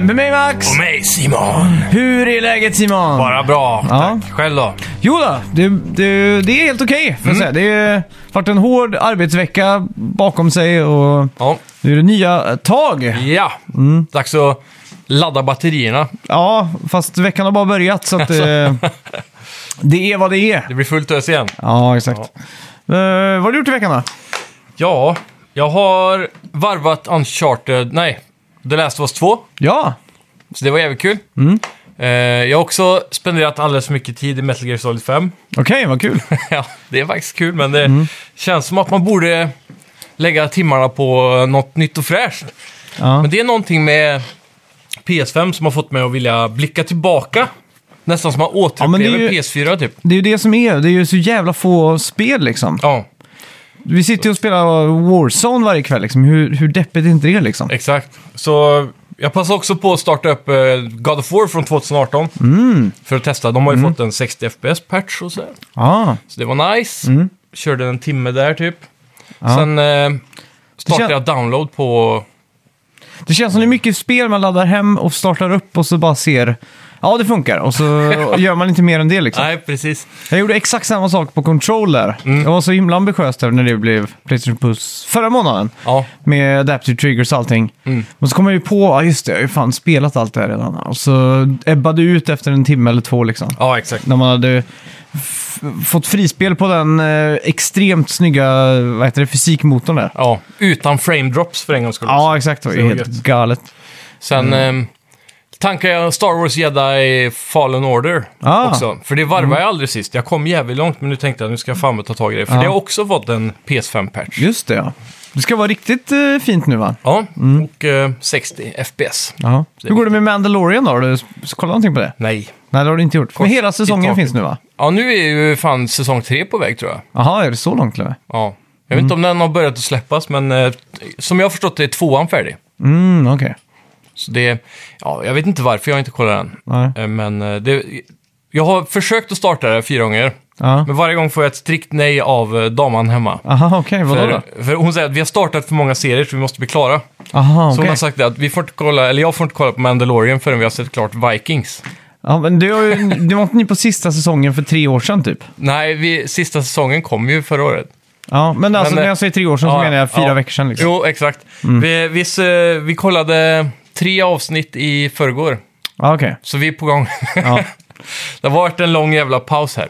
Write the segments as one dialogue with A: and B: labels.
A: Med mig Max!
B: Och mig Simon.
A: Hur är läget Simon?
B: Bara bra.
A: Ja.
B: Tack. Själv då?
A: Jo då, det, det, det är helt okej får jag säga. Det har varit en hård arbetsvecka bakom sig och
B: Ja.
A: nu är det nya tag.
B: ja. Dags att ladda batterierna.
A: Ja, fast veckan har bara börjat så att eh, det är vad det är.
B: Det blir fullt ös igen.
A: Ja, exakt. Eh, vad har du gjort i veckan då?
B: Ja, jag har varvat Uncharted, nej, The Last of Us 2.
A: Ja,
B: Så det var jävligt kul. Eh, jag har också spenderat alldeles för mycket tid i Metal Gear Solid 5.
A: okej, vad kul.
B: ja, det är faktiskt kul, men det känns som att man borde lägga timmarna på något nytt och fräscht.
A: Ja,
B: Men det är någonting med PS5 som har fått mig att vilja blicka tillbaka. Nästan som man
A: men det är
B: återupplever
A: ju-
B: PS4 typ.
A: det är ju det som är. Det är ju så jävla få spel liksom.
B: Ja,
A: Vi sitter ju och spelar Warzone varje kväll liksom. Hur, hur deppigt är inte det liksom?
B: exakt. Så jag passar också på att starta upp eh, God of War från 2018. För att testa. De har ju fått en 60 FPS-patch och sådär.
A: Ja,
B: Så det var nice. Körde en timme där typ.
A: Ja.
B: Sen eh,
A: Det kän-
B: startade jag download på...
A: det känns som det är mycket spel man laddar hem och startar upp och så bara ser. Ja, det funkar. Och så gör man inte mer än det liksom.
B: Nej, Mm. precis.
A: Jag gjorde exakt samma sak på Control där. Jag var så himla ambitiös där när det blev Playstation Plus förra månaden.
B: Ja,
A: Med Adaptive Triggers och allting.
B: Mm.
A: Och så kom jag ju på, ja just det, jag har ju fan spelat allt det här redan. Och så ebbade det ut efter en timme eller två liksom.
B: ja exakt.
A: När man hade f- fått frispel på den eh, extremt snygga vad heter det, fysikmotorn där.
B: Ja, utan frame drops för en gångs skull.
A: Ja, exakt. Det var ju
B: Så
A: helt
B: gött.
A: galet.
B: Sen
A: Mm.
B: eh, tankar jag Star Wars Jedi Fallen Order
A: Ah.
B: också. För det varvade jag aldrig sist. Jag kom jävligt långt, men nu tänkte jag nu ska jag fan med ta tag i det. För
A: Ja.
B: det har också fått en PS5-patch.
A: Just det, ja. Det ska vara riktigt eh, fint nu va?
B: Ja, och eh, 60 FPS.
A: Ja.
B: Det
A: Hur går det med Mandalorian då? Har du s- kollat någonting på det?
B: Nej.
A: Nej, det har du inte gjort. Men hela
B: i
A: säsongen
B: taket.
A: finns nu va?
B: Ja, nu är ju fan säsong tre på väg tror jag.
A: Jaha, är det så långt till och med?
B: Ja. Jag vet inte om
A: Mm.
B: den har börjat att släppas, men eh, som jag har förstått det är tvåan färdig.
A: Mm, okej.
B: Så det, ja, jag vet inte varför jag inte kollar den.
A: Nej.
B: Eh, Men eh, det, jag har försökt att starta det fyra gånger,
A: Ja.
B: men varje gång får jag ett strikt nej av eh, daman hemma.
A: Aha, okej. vadå då?
B: För, för hon säger att vi har startat för många serier så vi måste bli klara.
A: Aha,
B: Så
A: okej.
B: hon har sagt det att vi får inte kolla, eller jag får inte kolla på Mandalorian förrän vi har sett klart Vikings.
A: Ja, men det, har ju, det var inte ni på sista säsongen för tre år sedan typ?
B: Nej, vi, sista säsongen kom ju förra året.
A: Ja, men alltså
B: Men, eh,
A: när jag säger tre år sedan så
B: ja,
A: menar jag fyra
B: ja.
A: veckor sedan liksom.
B: Jo, exakt. Vi, vi, s- eh, vi kollade tre avsnitt i förrgår,
A: Ja, okej.
B: så vi är på gång.
A: Ja. Mm.
B: det har varit en lång jävla paus här,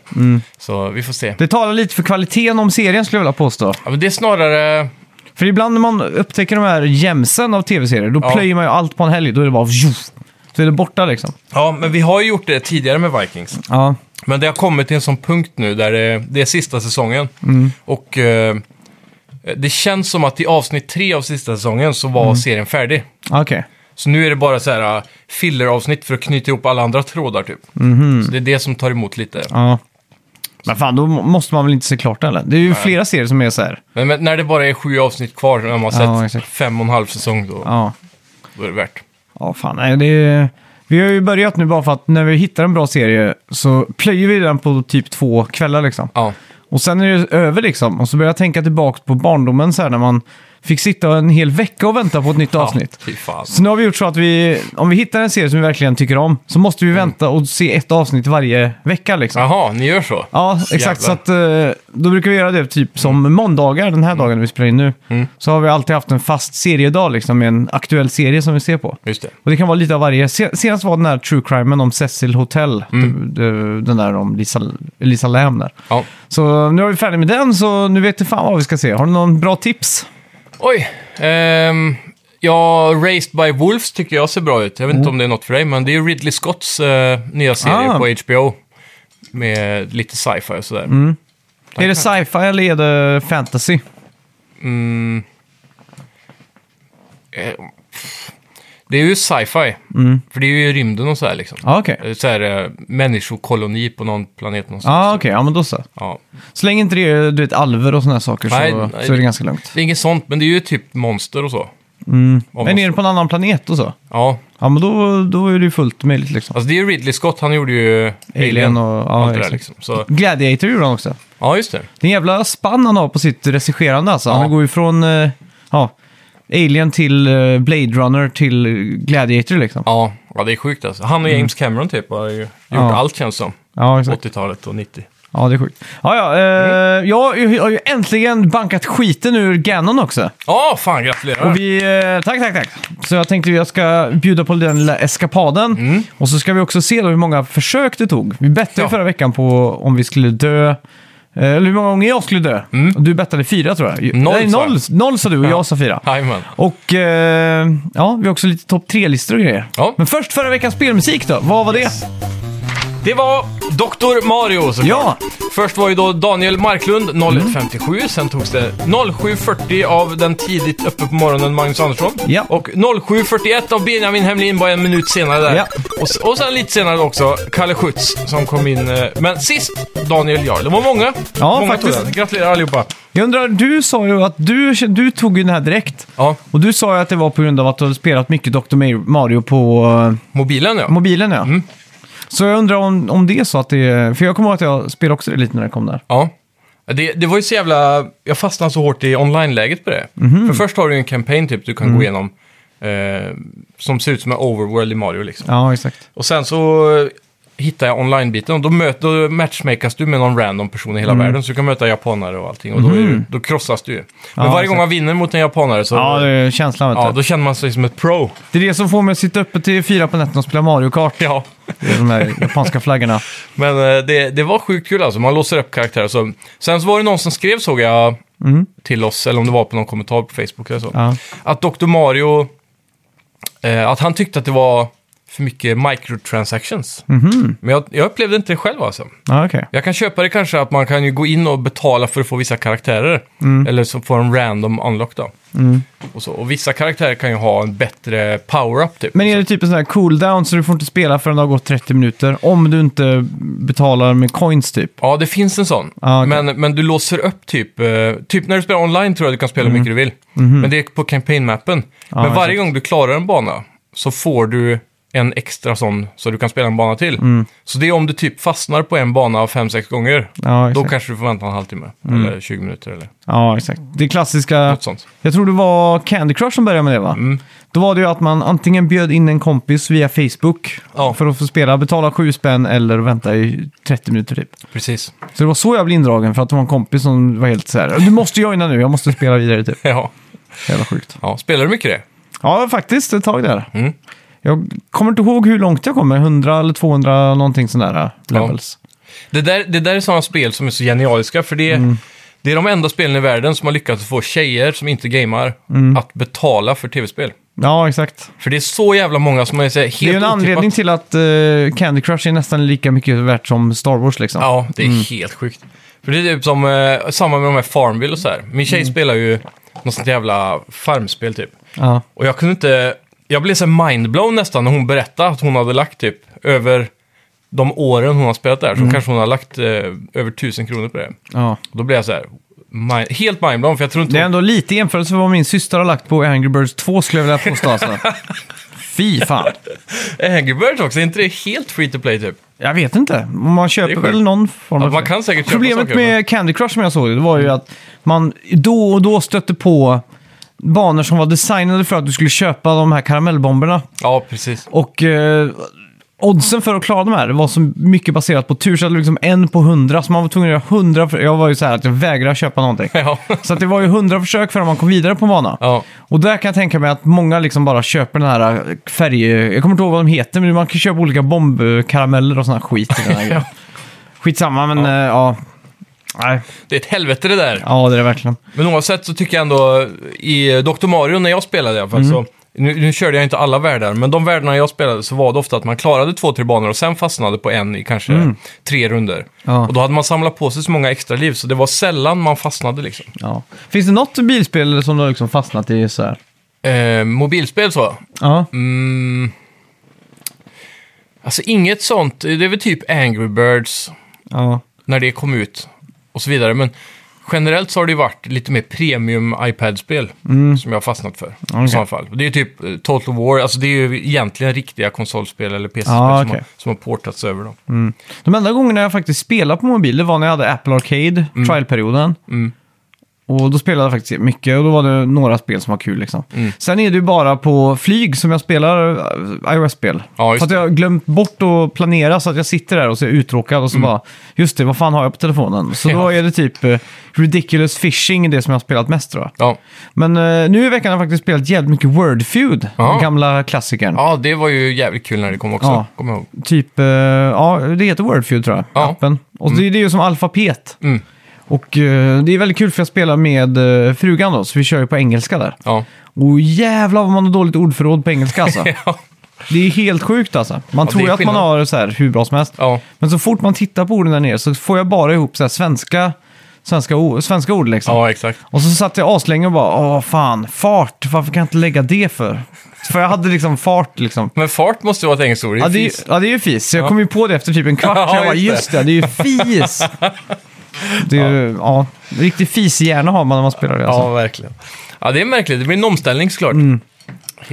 B: så vi får se.
A: Det talar lite för kvaliteten om serien skulle jag vilja påstå.
B: Ja, men det är snarare...
A: För ibland när man upptäcker de här jämsen av tv-serier, då
B: Ja.
A: plöjer man ju allt på en helg. Då är det bara... tjoff, Så är det borta liksom.
B: Ja, men vi har ju gjort det tidigare med Vikings.
A: Ja,
B: Men det har kommit till en sån punkt nu där det, det är sista säsongen.
A: Mm.
B: Och eh, det känns som att i avsnitt tre av sista säsongen så var
A: Mm.
B: serien färdig.
A: okej.
B: Så nu är det bara så här eh, filleravsnitt för att knyta ihop alla andra trådar typ.
A: Mhm.
B: Så det är det som tar emot lite.
A: Ja. Men fan, då må- måste man väl inte se klart den, eller? Det är ju flera serier som är så här.
B: Men, men när det bara är sju avsnitt kvar, när man har sett
A: Ja, exakt.
B: fem och en halv säsong, då,
A: Ja.
B: då är det värt.
A: Ja, fan. Nej, det är... Vi har ju börjat nu bara för att när vi hittar en bra serie så plöjer vi den på typ två kvällar liksom.
B: Ja,
A: Och sen är det över liksom. Och så börjar jag tänka tillbaka på barndomen så här när man fick sitta en hel vecka och vänta på ett nytt avsnitt.
B: Ja, fy fan.
A: Så nu har vi gjort så att vi, om vi hittar en serie som vi verkligen tycker om, så måste vi vänta och se ett avsnitt varje vecka liksom.
B: Jaha, ni gör så?
A: Ja, exakt. Så att, eh, då brukar vi göra det typ som måndagar, den här dagen vi spelar in nu.
B: Mm.
A: Så har vi alltid haft en fast seriedag liksom, med en aktuell serie som vi ser på.
B: Just det.
A: Och det kan vara lite av varje. Se- Senast var den här true crimen om Cecil Hotel.
B: Mm.
A: Du- du- Den där om Lisa, Lisa Lam där.
B: Ja.
A: Så nu är vi färdiga med den, så nu vet du fan vad vi ska se. Har du någon bra tips?
B: Oj! ehm, ja, Raised by Wolves tycker jag ser bra ut. Jag vet inte om det är något för dig, men det är ju Ridley Scotts eh, nya serie
A: Mm. Ah.
B: på HBO. Med lite sci-fi och sådär.
A: Mm. är det sci-fi eller är det fantasy?
B: Eh, pff. det är ju sci-fi,
A: Mm.
B: för det är ju i rymden och sådär liksom.
A: Ja, okej.
B: Det är Så här, eh, människokoloni på någon planet någonstans.
A: Ja, okej. Ja, men då så.
B: Ja.
A: Så länge inte det är du vet, alver och sådana saker
B: Nej,
A: så,
B: nej.
A: så är det ganska lugnt.
B: Det är inget sånt, men det är ju typ monster och så. Om
A: Mm. Men
B: man-
A: är det på en annan planet och så?
B: Ja,
A: Ja, men då, då är det ju fullt möjligt liksom.
B: alltså det är ju Ridley Scott, han gjorde ju Alien,
A: Alien och... Ja,
B: allt det där
A: exakt.
B: liksom. Så,
A: Gladiator gjorde han också.
B: ja, just det.
A: Det är en jävla spann han har på sitt regisserande alltså.
B: Ja.
A: Han går ju från... eh, Ja, Alien till eh, Blade Runner till eh, Gladiator liksom. Ja,
B: Ja, ja, det är sjukt alltså. Han och James Cameron typ har ju gjort
A: Ja.
B: allt känns som.
A: exakt.
B: 80-talet och 90.
A: Ja, det är sjukt. Ja, ja,
B: Mm.
A: eh, jag, jag har ju äntligen bankat skiten ur Ganon också.
B: Ja, fan gratulerar!
A: Och vi, eh, tack, tack, tack. Så jag tänkte jag ska bjuda på den lilla eskapaden. Och så ska vi också se då hur många försök det tog. Vi bettade ju
B: Mm. Ja.
A: förra veckan på om vi skulle dö. eh, Eller hur många gånger jag skulle dö. Och du bettade fyra tror jag.
B: Mm. Noll,
A: Nej,
B: sa jag.
A: noll, noll sa du och jag sa fyra.
B: Jajamän.
A: Och eh, ja, vi har också lite topp tre-listor och grejer.
B: Ja.
A: Men först förra veckans spelmusik då. Vad var det?
B: Det var Dr. Mario såklart.
A: Ja!
B: Först var ju då Daniel Marklund 01.57, sen togs det 07.40 av den tidigt uppe på morgonen Magnus Andersson.
A: Ja.
B: Och 07.41 av Benjamin Hemlin var en minut senare där.
A: Ja.
B: Och, s- och sen lite senare också Kalle Schütz som kom in. eh, Men sist Daniel Jarl. Det var många.
A: Ja,
B: många
A: faktiskt.
B: tog den. Gratulerar allihopa.
A: Jag undrar, du sa ju att du, du tog ju den här direkt.
B: Ja,
A: Och du sa ju att det var på grund av att du hade spelat mycket Dr. Mario på eh,
B: mobilen ja.
A: Mobilen ja. Så jag undrar om, om det är så att det är... För jag kommer ihåg att jag spelade också det lite när det kom där.
B: Ja. Det, det var ju så jävla... Jag fastnade så hårt i online-läget på det.
A: Mhm.
B: För först har du ju en campaign typ du kan
A: Mm.
B: gå igenom. Eh, som ser ut som en overworld i Mario liksom.
A: Ja, exakt.
B: Och sen så eh, hittar jag online-biten och då, möt, då matchmakas du med någon random person i hela
A: Mm.
B: världen. Så du kan möta japanare och allting och då, är du, då krossas du ju. Men
A: Mhm. Ja,
B: varje gång
A: exakt.
B: man vinner mot en japanare så
A: Ja, det är känslan vet
B: ja,
A: du.
B: då känner man sig som ett pro.
A: Det är det som får mig att sitta uppe till fyra på nätterna och spela Mario Kart.
B: Ja.
A: Det är de här japanska flaggorna.
B: Men eh, det, det var sjukt kul alltså, man låser upp karaktärer. Så. Sen så var det någon som skrev såg jag till oss, eller om det var på någon kommentar på Facebook eller så.
A: Mm. Ja.
B: Att Dr. Mario, eh, att han tyckte att det var för mycket microtransactions.
A: Mm.
B: Men jag, jag upplevde inte det själv alltså.
A: Mhm. Ja, okej.
B: Jag kan köpa det kanske att man kan ju gå in och betala för att få vissa karaktärer. Eller så får en random unlock då. Och, så. och vissa karaktärer kan ju ha en bättre power-up typ.
A: Men är det typ en sån här cooldown så du får inte spela förrän det har gått 30 minuter? Om du inte betalar med coins typ.
B: Ja, det finns en sån.
A: Ja, Ah, okej.
B: men, men du låser upp typ... eh, Typ när du spelar online tror jag du kan spela hur mycket du vill. Men det är på campaign-mappen.
A: Mm.
B: men varje
A: Mhm. Ah, exakt.
B: gång du klarar en bana så får du en extra sån så du kan spela en bana till.
A: Mm.
B: Så det är om du typ fastnar på en bana fem sex gånger.
A: Ja,
B: Då
A: exakt. Mm.
B: kanske du får vänta en halvtimme eller 20 minuter eller
A: Ja, exakt. Det klassiska...
B: något sånt.
A: Jag tror det var Candy Crush som började med det va?
B: Mm.
A: Då var det ju att man antingen bjöd in en kompis via Facebook
B: Ja.
A: för att få spela, betala sju spänn eller vänta i 30 minuter typ.
B: Precis.
A: Så det var så jag blev indragen för att det var en kompis som var helt så här. Du måste joina nu, jag måste spela vidare typ.
B: Ja.
A: Jävla sjukt.
B: Ja, spelar du mycket det?
A: Ja, faktiskt ett tag där.
B: Mm.
A: Jag kommer inte ihåg hur långt jag kom, men 100 eller 200 någonting sådär levels.
B: Det där, det där är sådana spel som är så genialiska, för det,
A: Mm.
B: det är de enda spelen i världen som har lyckats få tjejer som inte gamar
A: Mm.
B: att betala för tv-spel.
A: Ja, exakt.
B: För det är så jävla många som är så här helt
A: Det är ju en
B: otippat.
A: anledning till att eh, Candy Crush är nästan lika mycket värt som Star Wars liksom.
B: Ja, det är helt sjukt. För det är typ som, eh, samma med de här Farmville och så här. Min tjej spelar ju något sånt jävla farmspel typ.
A: Ja.
B: Och jag kunde inte... Jag blev så här mindblown nästan när hon berättade att hon hade lagt typ över de åren hon har spelat där. Så kanske hon har lagt eh, över tusen kronor på det.
A: ja.
B: Och då blev jag så här, mind, helt mindblown, för jag tror inte
A: Det är
B: hon-
A: ändå lite i jämförelse med vad min syster har lagt på Angry Birds 2 skulle jag vilja påstå alltså. Fy fan.
B: Angry Birds också, är inte det helt free to play typ?
A: Jag vet inte. Man
B: Det
A: köper
B: är sjukt.
A: väl någon form
B: Ja,
A: av...
B: man kan säkert köpa
A: Problemet
B: saker,
A: med Candy Crush som jag såg det, det var ju att man då och då stötte på banor som var designade för att du skulle köpa de här karamellbomberna.
B: Ja, precis.
A: Och eh, oddsen för att klara de här var så mycket baserat på tur, så att det var liksom en på hundra. Så man var tvungen att göra hundra... För... Jag var ju så här att jag vägrade köpa någonting.
B: Ja.
A: Så att det var ju hundra försök förrän man kom vidare på en bana.
B: Ja.
A: Och där kan jag tänka mig att många liksom bara köper den här eh, färg... Jag kommer inte ihåg vad de heter, men man kan köpa olika bombkarameller och sån här skit. I den här grejen. Skitsamma, men ja. ja. Nej,
B: Det är ett helvete det där.
A: ja det är det verkligen.
B: Men oavsett så tycker jag ändå, i Dr. Mario när jag spelade i alla fall, så, nu, nu körde jag inte alla världar, men de världarna jag spelade så var det ofta att man klarade två, tre banor och sen fastnade på en i kanske tre runder.
A: Ja.
B: Och då hade man samlat på sig så många extra liv, så det var sällan man fastnade liksom.
A: Ja. Finns det något bilspel som du har liksom fastnat i så här?
B: Eh, mobilspel så,
A: Ja.
B: Mm. Alltså inget sånt. Det är väl typ Angry Birds
A: ja.
B: när det kom ut och så vidare. Men generellt så har det ju varit lite mer premium iPad-spel
A: Mm.
B: som jag har fastnat för. I så fall. Det är ju typ eh, Total War, alltså det är ju egentligen riktiga konsolspel eller PC-spel
A: Ah, okej.
B: som,
A: Mm.
B: har, som har portats över dem.
A: De enda gångerna jag faktiskt spelade på mobil, det var när jag hade Apple Arcade, trialperioden. Och då spelade jag faktiskt mycket och då var det några spel som var kul liksom.
B: Mm.
A: Sen är det ju bara på flyg som jag spelar eh, iOS-spel.
B: Ja, just
A: för att jag har glömt bort att planera så att jag sitter där och så är jag uttråkad och så bara, just det, vad fan har jag på telefonen? Så då
B: Mm. Ja.
A: är det typ eh, Ridiculous Fishing det som jag har spelat mest tror jag.
B: Ja.
A: Men eh, nu i veckan har jag faktiskt spelat jävligt mycket Word Feud,
B: Ja.
A: den gamla klassikern.
B: ja, det var ju jävligt kul när det kom också.
A: Ja.
B: Kommer jag ihåg.
A: Typ, eh, ja, det heter Word Feud tror jag,
B: Ja.
A: appen. Och det, det är ju som alfabet.
B: Mm.
A: Och eh, det är väldigt kul för jag spelar med eh, frugan då, så vi kör ju på engelska där.
B: Ja.
A: Och jävlar vad man har dåligt ordförråd på engelska alltså.
B: Ja.
A: Det är helt sjukt alltså. Man
B: Ja, det
A: tror
B: är
A: ju att man
B: skillnad.
A: har så här hur bra som helst.
B: ja.
A: Men så fort man tittar på orden där nere så får jag bara ihop så här svenska, svenska, o- svenska ord liksom.
B: Ja, exakt.
A: Och så satt jag aslänge och bara, åh fan, fart, varför kan jag inte lägga det för? För jag hade liksom fart liksom.
B: Men fart måste ju vara ett engelskt ord. Det
A: Ja
B: är ju
A: det, är,
B: fis.
A: ja, det är ju fis. Så jag kom ju på det efter typ en kvart.
B: Ja,
A: så jag bara,
B: just
A: just det, det är ju fis. Det är ju, ja, riktig fishjärna har man när man spelar det. Alltså.
B: Ja, verkligen. Ja, det är märkligt. Det blir en omställning såklart.
A: Mm.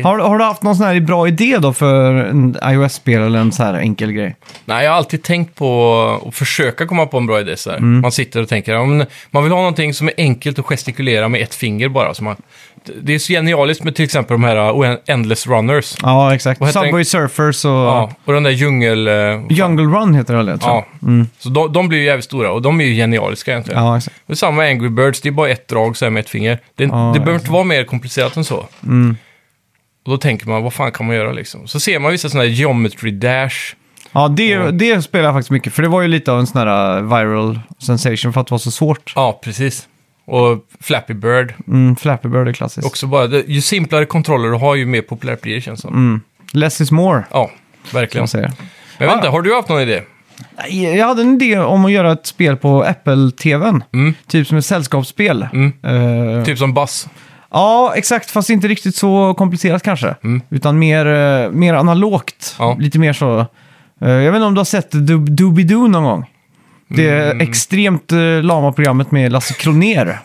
A: Har, har du haft någon sån här bra idé då för en iOS-spel eller en sån här enkel grej?
B: Nej, jag har alltid tänkt på att försöka komma på en bra idé. Så här.
A: Mm.
B: Man sitter och tänker, ja, men man vill ha någonting som är enkelt att gestikulera med ett finger bara. Så man, det är så genialiskt med till exempel de här uh, Endless Runners.
A: Ja, exakt.
B: Vad heter
A: Subway Surfers och
B: Ja, och den där djungel... eh,
A: Jungle Run heter det väl? jag tror.
B: Ja, så de, de blir ju jävligt stora och de är ju genialiska egentligen.
A: Mm. ja, exakt.
B: Och samma Angry Birds, det är bara ett drag så här med ett finger. Det,
A: Ja, Mm.
B: det behöver inte vara mer komplicerat än så. Och då tänker man, vad fan kan man göra liksom? Så ser man vissa sådana här Geometry Dash.
A: Ja, det, det spelar jag faktiskt mycket, för det var ju lite av en sån här uh, viral sensation för att det var så svårt.
B: Ja, precis. Och Flappy Bird.
A: Mm, Flappy Bird är klassiskt.
B: Också bara, det- ju simplare kontroller du har, ju mer populär blir det känns
A: Mm.
B: som.
A: Less is more,
B: Ja,
A: kan
B: verkligen.
A: man säga.
B: Men vänta, har du haft någon idé?
A: Nej, Jag hade en idé om att göra ett spel på Apple-TVn.
B: Mm.
A: Typ som ett sällskapsspel. Eh,
B: Typ som Bass?
A: Ja, exakt. Fast inte riktigt så komplicerat kanske.
B: Mm.
A: Utan mer, eh, mer analogt.
B: Ja.
A: Lite mer så... eh, jag vet inte om du har sett Dub- Doobidoo någon gång? Det
B: Mm.
A: extremt eh, lama programmet med Lasse Kronér.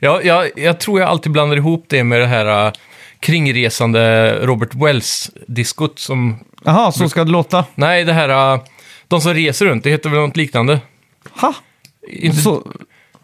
B: Ja, jag, jag tror jag alltid blandar ihop det med det här äh, kringresande Robert Wells-diskot som...
A: Jaha,
B: Mm.
A: så ska det låta.
B: Nej, det här... äh, de som reser runt, det heter väl något liknande?
A: Ha!
B: Inte,
A: Så,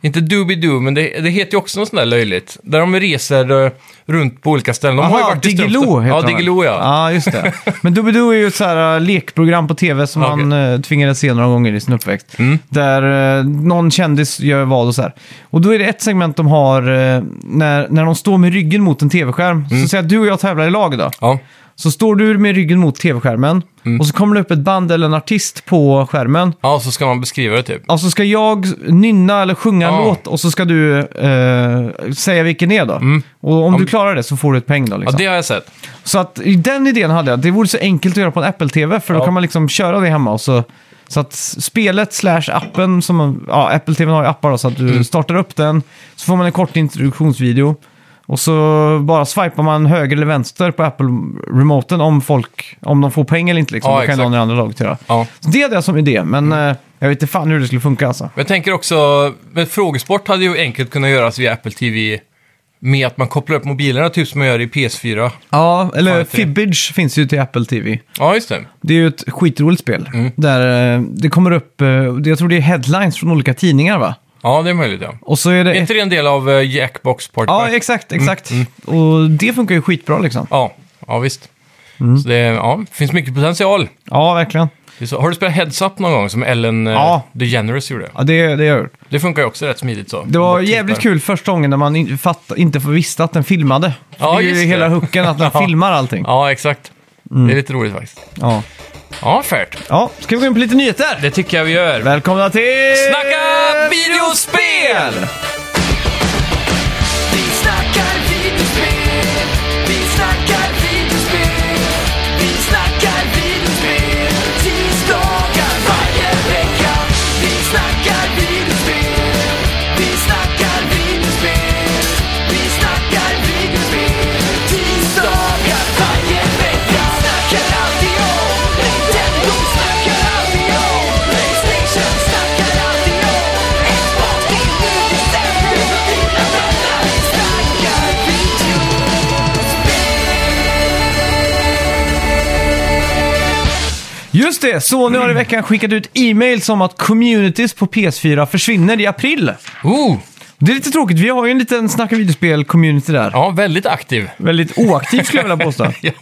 B: inte Doobidoo, men det, det heter ju också något sånt där löjligt. Där de reser äh, runt på olika ställen. De har ju
A: aha,
B: varit i
A: Diggiloo
B: Strömstad.
A: heter
B: Ja,
A: de.
B: Diggiloo ja.
A: Ja, just det. Men Doobidoo är ju ett så här eh, lekprogram på tv som
B: Ja,
A: han okay. tvingades se några gånger i sin uppväxt.
B: Mm.
A: Där eh, någon kändis gör vad och så här. Och då är det ett segment de har eh, när, när de står med ryggen mot en tv-skärm.
B: Mm.
A: Så säger jag att du och jag tävlar i lag då.
B: Ja,
A: Så står du med ryggen mot tv-skärmen
B: Mm.
A: och så kommer det upp ett band eller en artist på skärmen.
B: ja så ska man beskriva det typ.
A: Och så ska jag nynna eller sjunga en
B: Ja.
A: låt och så ska du eh, säga vilken det är då.
B: Mm.
A: Och om du klarar det så får du ett poäng då.
B: Ja,
A: Liksom.
B: det har jag sett.
A: Så att i den idén hade jag. Det vore så enkelt att göra på en Apple-TV för då
B: Ja.
A: kan man liksom köra det hemma. Och så, så att spelet slash appen, som, ja, Apple-TVn har ju appar då, så att du startar upp den, så får man en kort introduktionsvideo. Och så bara swipar man höger eller vänster på Apple-remoten om folk, om de får poäng eller inte liksom.
B: Ja,
A: då kan
B: exakt.
A: någon i andra laget göra.
B: Ja.
A: Så det hade jag som idé, men eh, jag vet inte fan hur det skulle funka alltså.
B: Men jag tänker också, men frågesport hade ju enkelt kunnat göras via Apple TV med att man kopplar upp mobilerna, typ som man gör i PS4.
A: Ja,
B: Fan,
A: eller
B: inte det.
A: Fibbage finns ju till Apple TV.
B: Ja, just det.
A: Det är ju ett skitroligt spel.
B: Mm.
A: Där eh, det kommer upp, eh, jag tror det är headlines från olika tidningar va?
B: Ja, det är möjligt, ja.
A: Och så är det...
B: Är inte Mm. det en del av eh, Jackbox Party?
A: Ja, exakt, exakt. Och det funkar ju skitbra liksom.
B: ja, ja, visst.
A: Mm.
B: Så det ja, finns mycket potential.
A: Ja, verkligen.
B: Det är så- Har du spelat Heads Up någon gång, som Ellen eh,
A: Ja.
B: DeGeneres gjorde?
A: Ja, det, det gör det.
B: Det funkar ju också rätt smidigt så.
A: Det var
B: Bara
A: jävligt
B: tittar.
A: kul första gången när man in, fatt, inte visste att den filmade.
B: Ja,
A: det är ju
B: just det.
A: hela hooken att den
B: Ja.
A: filmar allting. Ja.
B: Ja, exakt.
A: Mm.
B: Det är lite roligt faktiskt.
A: Ja.
B: Ja, färt.
A: ska vi gå in på lite nyheter?
B: Det tycker jag vi gör.
A: Välkomna till...
B: Snacka videospel!
C: Vi snackar videospel, vi snackar videospel, vi snackar videospel, tisdagar varje vecka. Vi snackar videospel, vi snackar videospel, vi snackar videospel, tisdagar varje vecka. Snackar alltid om Nintendo, snackar alltid om Playstation, snackar alltid om Xbox, det är nu vi sänder för dina vänner. Vi snackar videospel.
A: Just det, Sony har i veckan skickat ut e-mails om att communities på PS4 försvinner i april.
B: Ooh.
A: Det är lite tråkigt, vi har ju en liten snacka videospel-community där.
B: Ja, väldigt aktiv.
A: Väldigt oaktiv skulle jag vilja påstå.
B: Ja.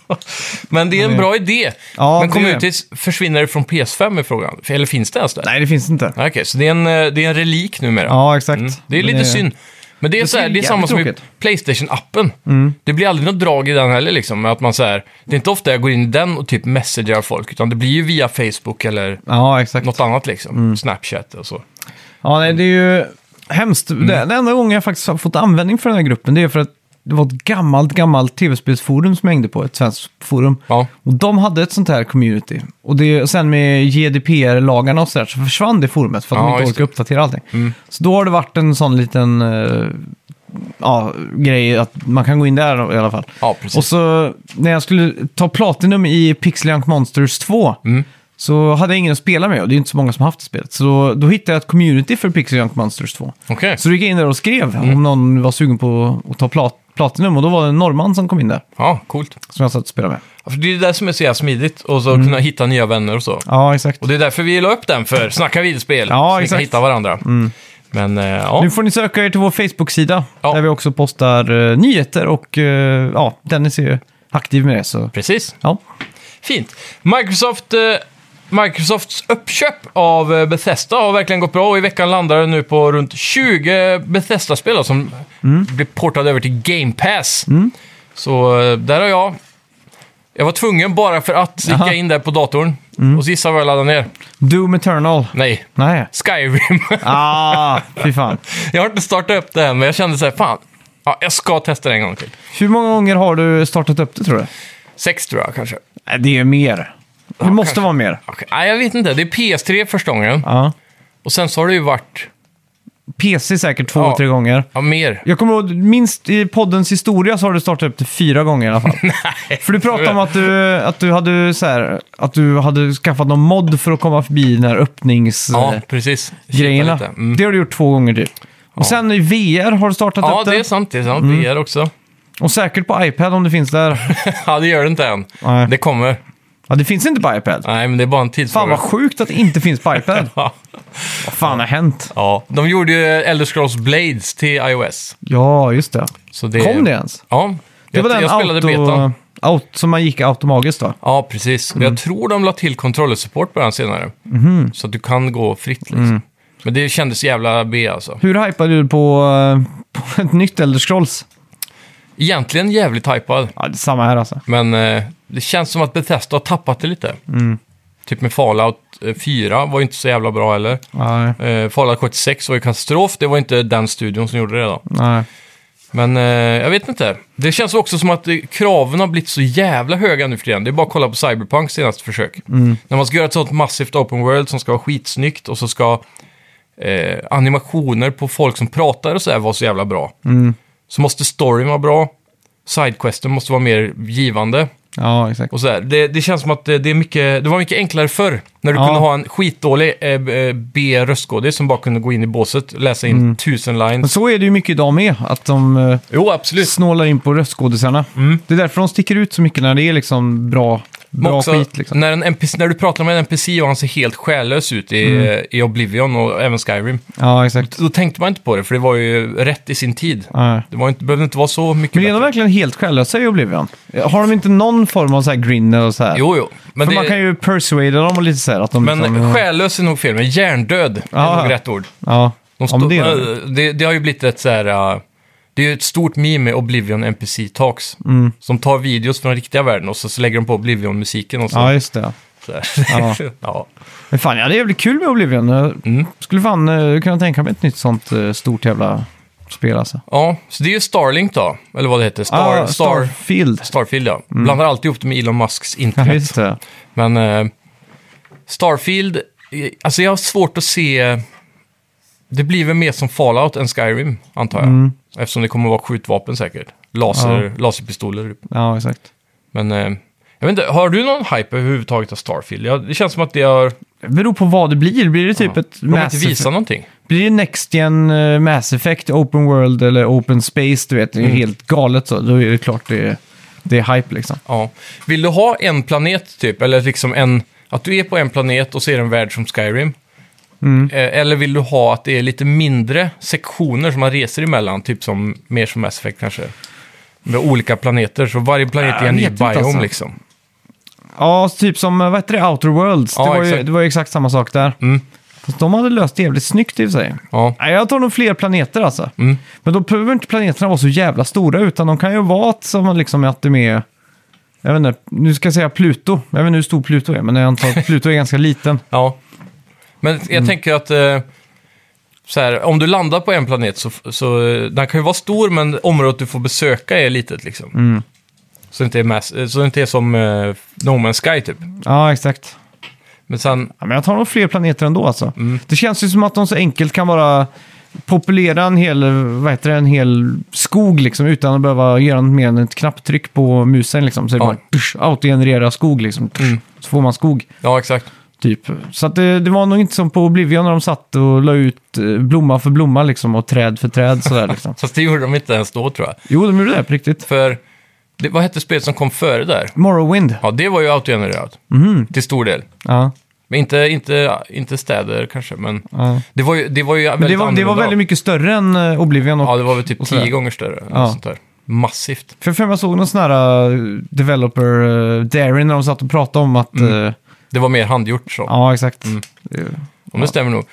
B: Men det är en bra idé.
A: Ja,
B: Men
A: det är det.
B: communities, försvinner det från PS5 är frågan? Eller finns det ens där?
A: Nej, det finns inte.
B: Okej, så det är, en, eh, det är en relik numera.
A: Ja, exakt.
B: Mm. Det är
A: Men
B: lite synd. Men det är, så här,
A: skulle
B: det är samma
A: jävligt
B: som i
A: tråkigt. Mm.
B: Playstation-appen. Det blir aldrig något drag i den heller. Liksom, att man så här, det är inte ofta jag går in i den och typ messagerar folk, utan det blir ju via Facebook eller
A: Ja, exakt.
B: något annat. Liksom.
A: Mm.
B: Snapchat och så.
A: Ja, nej, det är ju hemskt.
B: Mm.
A: Det, den enda gången jag faktiskt har fått användning för den här gruppen, det är för att det var ett gammalt, gammalt tv-spelsforum som jag hängde på, ett svenskt forum.
B: Ja.
A: Och de hade ett sånt här community. Och det, sen med GDPR-lagarna och sådär så försvann det forumet för att
B: Ja,
A: de inte
B: just Mm.
A: orkade uppdatera allting. Så då har det varit en sån liten eh, ja, grej att man kan gå in där i alla fall.
B: Ja, precis.
A: Och så när jag skulle ta Platinum i Pixel Junk Monsters 2
B: Mm.
A: så hade jag ingen att spela med och det är ju inte så många som har haft det spelet. Så då, då hittade jag ett community för Pixel Junk Monsters 2.
B: Okej.
A: Så då gick jag in där och skrev
B: Mm.
A: om någon var sugen på att ta plat Platinum och då var det en norrman som kom in där
B: Ja, coolt.
A: som jag satt och spelade med.
B: Ja, För det är det där som är så jävla smidigt, och så kunna hitta nya vänner och så.
A: Mm. Ja, exakt.
B: Och det är därför vi la upp den för, snacka videospel,
A: Ja,
B: så vi kan
A: exakt. Mm.
B: hitta varandra. Men eh, ja,
A: Nu får ni söka er till vår Facebook-sida
B: Ja.
A: där vi också postar eh, nyheter och eh, ja, Dennis är ju aktiv med det. Så.
B: precis.
A: Ja.
B: Fint. Microsoft, eh, Microsofts uppköp av eh, Bethesda har verkligen gått bra och i veckan landar det nu på runt 20 Bethesda-spel då, som blir portade över till Game Pass. Så eh, där har jag... Jag var tvungen bara för att
A: Aha.
B: klicka in där på datorn. Och så gissa vad jag laddade ner.
A: Doom Eternal.
B: Nej,
A: Nej.
B: Skyrim.
A: Ah, fy fan.
B: jag har inte startat upp det än, men jag kände så här, fan, ja, jag ska testa det en gång till.
A: Hur många gånger har du startat upp det tror du?
B: Sex tror jag kanske.
A: Nej, Det är mer. Det måste vara mer.
B: Okej, Nej, jag vet inte. Det är PS3 första gången.
A: Ja.
B: Och sen så har det ju varit,
A: PC säkert två,
B: Ja.
A: tre gånger.
B: ja, mer.
A: Jag kommer ihåg, minst i poddens historia så har du startat upp det fyra gånger i alla fall. Nej, för du pratade om att du, att, du hade så här, att du hade skaffat någon mod för att komma förbi den här öppnings...
B: Ja, precis. Kika
A: grejerna.
B: lite. Mm.
A: Det har du gjort två gånger typ. Och sen i VR har du startat
B: Ja,
A: upp
B: det är
A: det.
B: sant. Det är sant.
A: Mm.
B: VR också.
A: Och säkert på iPad om det finns där.
B: ja, det gör det inte än.
A: Nej.
B: Det kommer.
A: Ja, det finns inte på iPad.
B: Nej, men det är bara en
A: Fan
B: tidsfråga.
A: vad sjukt att det inte finns på iPad.
B: Ja.
A: Vad fan har hänt?
B: ja, de gjorde ju Elder Scrolls Blades till iOS.
A: Ja, just det.
B: Så det...
A: Kom det ens?
B: Ja.
A: Det var
B: jag,
A: den
B: jag spelade
A: auto...
B: betan.
A: Out, som man gick automatiskt va?
B: Ja, precis. Och
A: Mm.
B: Jag tror de la till controllersupport på den senare.
A: Mhm.
B: Så att du kan gå fritt liksom.
A: Mm.
B: Men det kändes jävla B alltså.
A: Hur hypade du på, eh, på ett nytt Elder Scrolls?
B: Egentligen jävligt hypad,
A: Ja, det är samma här alltså.
B: men eh, det känns som att Bethesda har tappat det lite.
A: Mm.
B: Typ med Fallout eh, 4 var ju inte så jävla bra heller.
A: Nej,
B: Eh, Fallout 76 var ju katastrof, det var inte den studion som gjorde det då.
A: nej.
B: Men eh, jag vet inte. Det känns också som att eh, kraven har blivit så jävla höga nu för tiden. Det är bara att kolla på Cyberpunk senaste försök. När man ska göra ett sånt massivt open world som ska vara skitsnyggt och så ska eh, animationer på folk som pratar och så här vara så jävla bra. Så måste storyn vara bra. Sidequesten måste vara mer givande.
A: Ja, exakt.
B: Och så här. Det, det känns som att det, det, är mycket, det var mycket enklare förr. När du
A: Ja.
B: kunde ha en skitdålig eh, b- b röstskådis som bara kunde gå in i båset, läsa in
A: Mm.
B: tusen
A: Men
B: lines.
A: så är det ju mycket idag med, att de eh,
B: Jo, absolut.
A: snålar in på röstskådisarna.
B: Mm.
A: Det är därför de sticker ut så mycket när det är liksom bra,
B: Men
A: bra
B: också,
A: skit. Liksom.
B: När, en NPC, när du pratar med en NPC och han ser helt själlös ut i,
A: Mm.
B: eh, i Oblivion och även Skyrim,
A: Ja, exakt.
B: då tänkte man inte på det, för det var ju rätt i sin tid.
A: Ja.
B: Det var inte, behövde inte vara så mycket
A: Men är de
B: bättre.
A: verkligen helt själlösa i Oblivion? Har de inte någon form av så här grin eller så här?
B: Jo, jo. Men,
A: För
B: det,
A: man kan ju persuada dem och lite så här att de
B: men
A: liksom...
B: själlös är nog fel, men hjärndöd
A: Ja,
B: är nog
A: ja.
B: rätt ord.
A: Ja,
B: De
A: ja men det är de.
B: det, det, har ju blivit ett så här... äh, det är ju ett stort meme med Oblivion NPC Talks.
A: Mm.
B: Som tar videos från riktiga världen och så, så lägger de på Oblivion-musiken och så.
A: Ja, just det.
B: så här.
A: Ja.
B: ja.
A: Men fan, ja, det är väl kul med Oblivion. Jag
B: Mm.
A: skulle fan eh, kunna tänka mig ett nytt sånt eh, stort jävla spel alltså.
B: ja, så det är ju Starlink då. Eller vad det heter. Star,
A: ah,
B: Star,
A: Starfield.
B: Starfield, ja. Blandar alltid ihop det med Elon Musks
A: Ja,
B: internet.
A: just det.
B: Men eh, Starfield, eh, alltså jag har svårt att se... Det blir väl mer som Fallout än Skyrim, antar jag.
A: Mm.
B: Eftersom det kommer att vara skjutvapen säkert. Laser, Laserpistoler. typ.
A: Ja, exakt.
B: Men eh, jag vet inte, har du någon hype överhuvudtaget av Starfield? Ja, det känns som att det har...
A: Det beror på vad det blir. Blir det typ ett
B: De har
A: Mass
B: inte visat
A: Effect?
B: någonting.
A: Blir det Next Gen eh, Mass Effect, Open World eller Open Space? Du vet, det är
B: Mm.
A: helt galet så. Då är det klart det är, det är hype liksom.
B: Ja. Vill du ha en planet typ, eller liksom en... Att du är på en planet och ser en värld som Skyrim.
A: Mm.
B: Eh, Eller vill du ha att det är lite mindre sektioner som man reser emellan, typ som mer som Mass Effect kanske? Med olika planeter, så varje planet är
A: Jag
B: en ny
A: vet inte
B: biome
A: alltså.
B: liksom.
A: Ja, typ som, eh, vad heter det, Outer Worlds.
B: Ja,
A: det, var ju,
B: exakt.
A: det var ju exakt samma sak där.
B: Mm.
A: Fast de hade löst det jävligt snyggt i och för sig.
B: Ja.
A: Nej, jag tar nog fler planeter alltså.
B: Mm.
A: Men då behöver inte planeterna vara så jävla stora, utan de kan ju vara att- som liksom att de är... Jag vet inte, nu ska jag säga Pluto. Jag vet inte hur stor Pluto är, men jag antar att Pluto är ganska liten.
B: ja. Men jag
A: Mm.
B: tänker att eh, så här, om du landar på en planet så, så eh, den kan ju vara stor, men området du får besöka är litet liksom.
A: Mm.
B: Så, det inte är mass, eh, så det inte är som eh, No Man's Sky typ.
A: Ja, exakt.
B: Men sen,
A: Ja, men jag tar nog fler planeter ändå alltså.
B: Mm.
A: Det känns ju som att de så enkelt kan bara populera en hel, vad heter det, en hel skog liksom, utan att behöva göra något mer än ett knapptryck på musen. Liksom. Så är det
B: Ja. Mm.
A: bara tush, autogenerera skog, liksom, tush, så får man skog.
B: ja exakt.
A: Typ. Så att det, det var nog inte som på Oblivion när de satt och la ut eh, blomma för blomma liksom, och träd för träd. Sådär, liksom.
B: Fast det gjorde de inte ens då tror jag.
A: Jo, de gjorde det på riktigt.
B: För, det, vad hette spelet som kom före där?
A: Morrowind.
B: Ja, det var ju autogenererat.
A: Mm-hmm.
B: Till stor del.
A: Ja,
B: Men inte, inte, inte städer kanske, men
A: ja.
B: det var ju, det var ju
A: Men
B: väldigt
A: det var, det var
B: annorlunda.
A: väldigt mycket större än eh, Oblivion. Och,
B: Ja, det var väl typ
A: och sådär.
B: tio gånger större. eller
A: Ja.
B: något Sånt där. Massivt.
A: För för mig såg någon sån här eh, developer, uh, Darren, när de satt och pratade om att...
B: Mm.
A: eh,
B: Det var mer handgjort så.
A: ja, exakt.
B: Mm. Om det stämmer nog.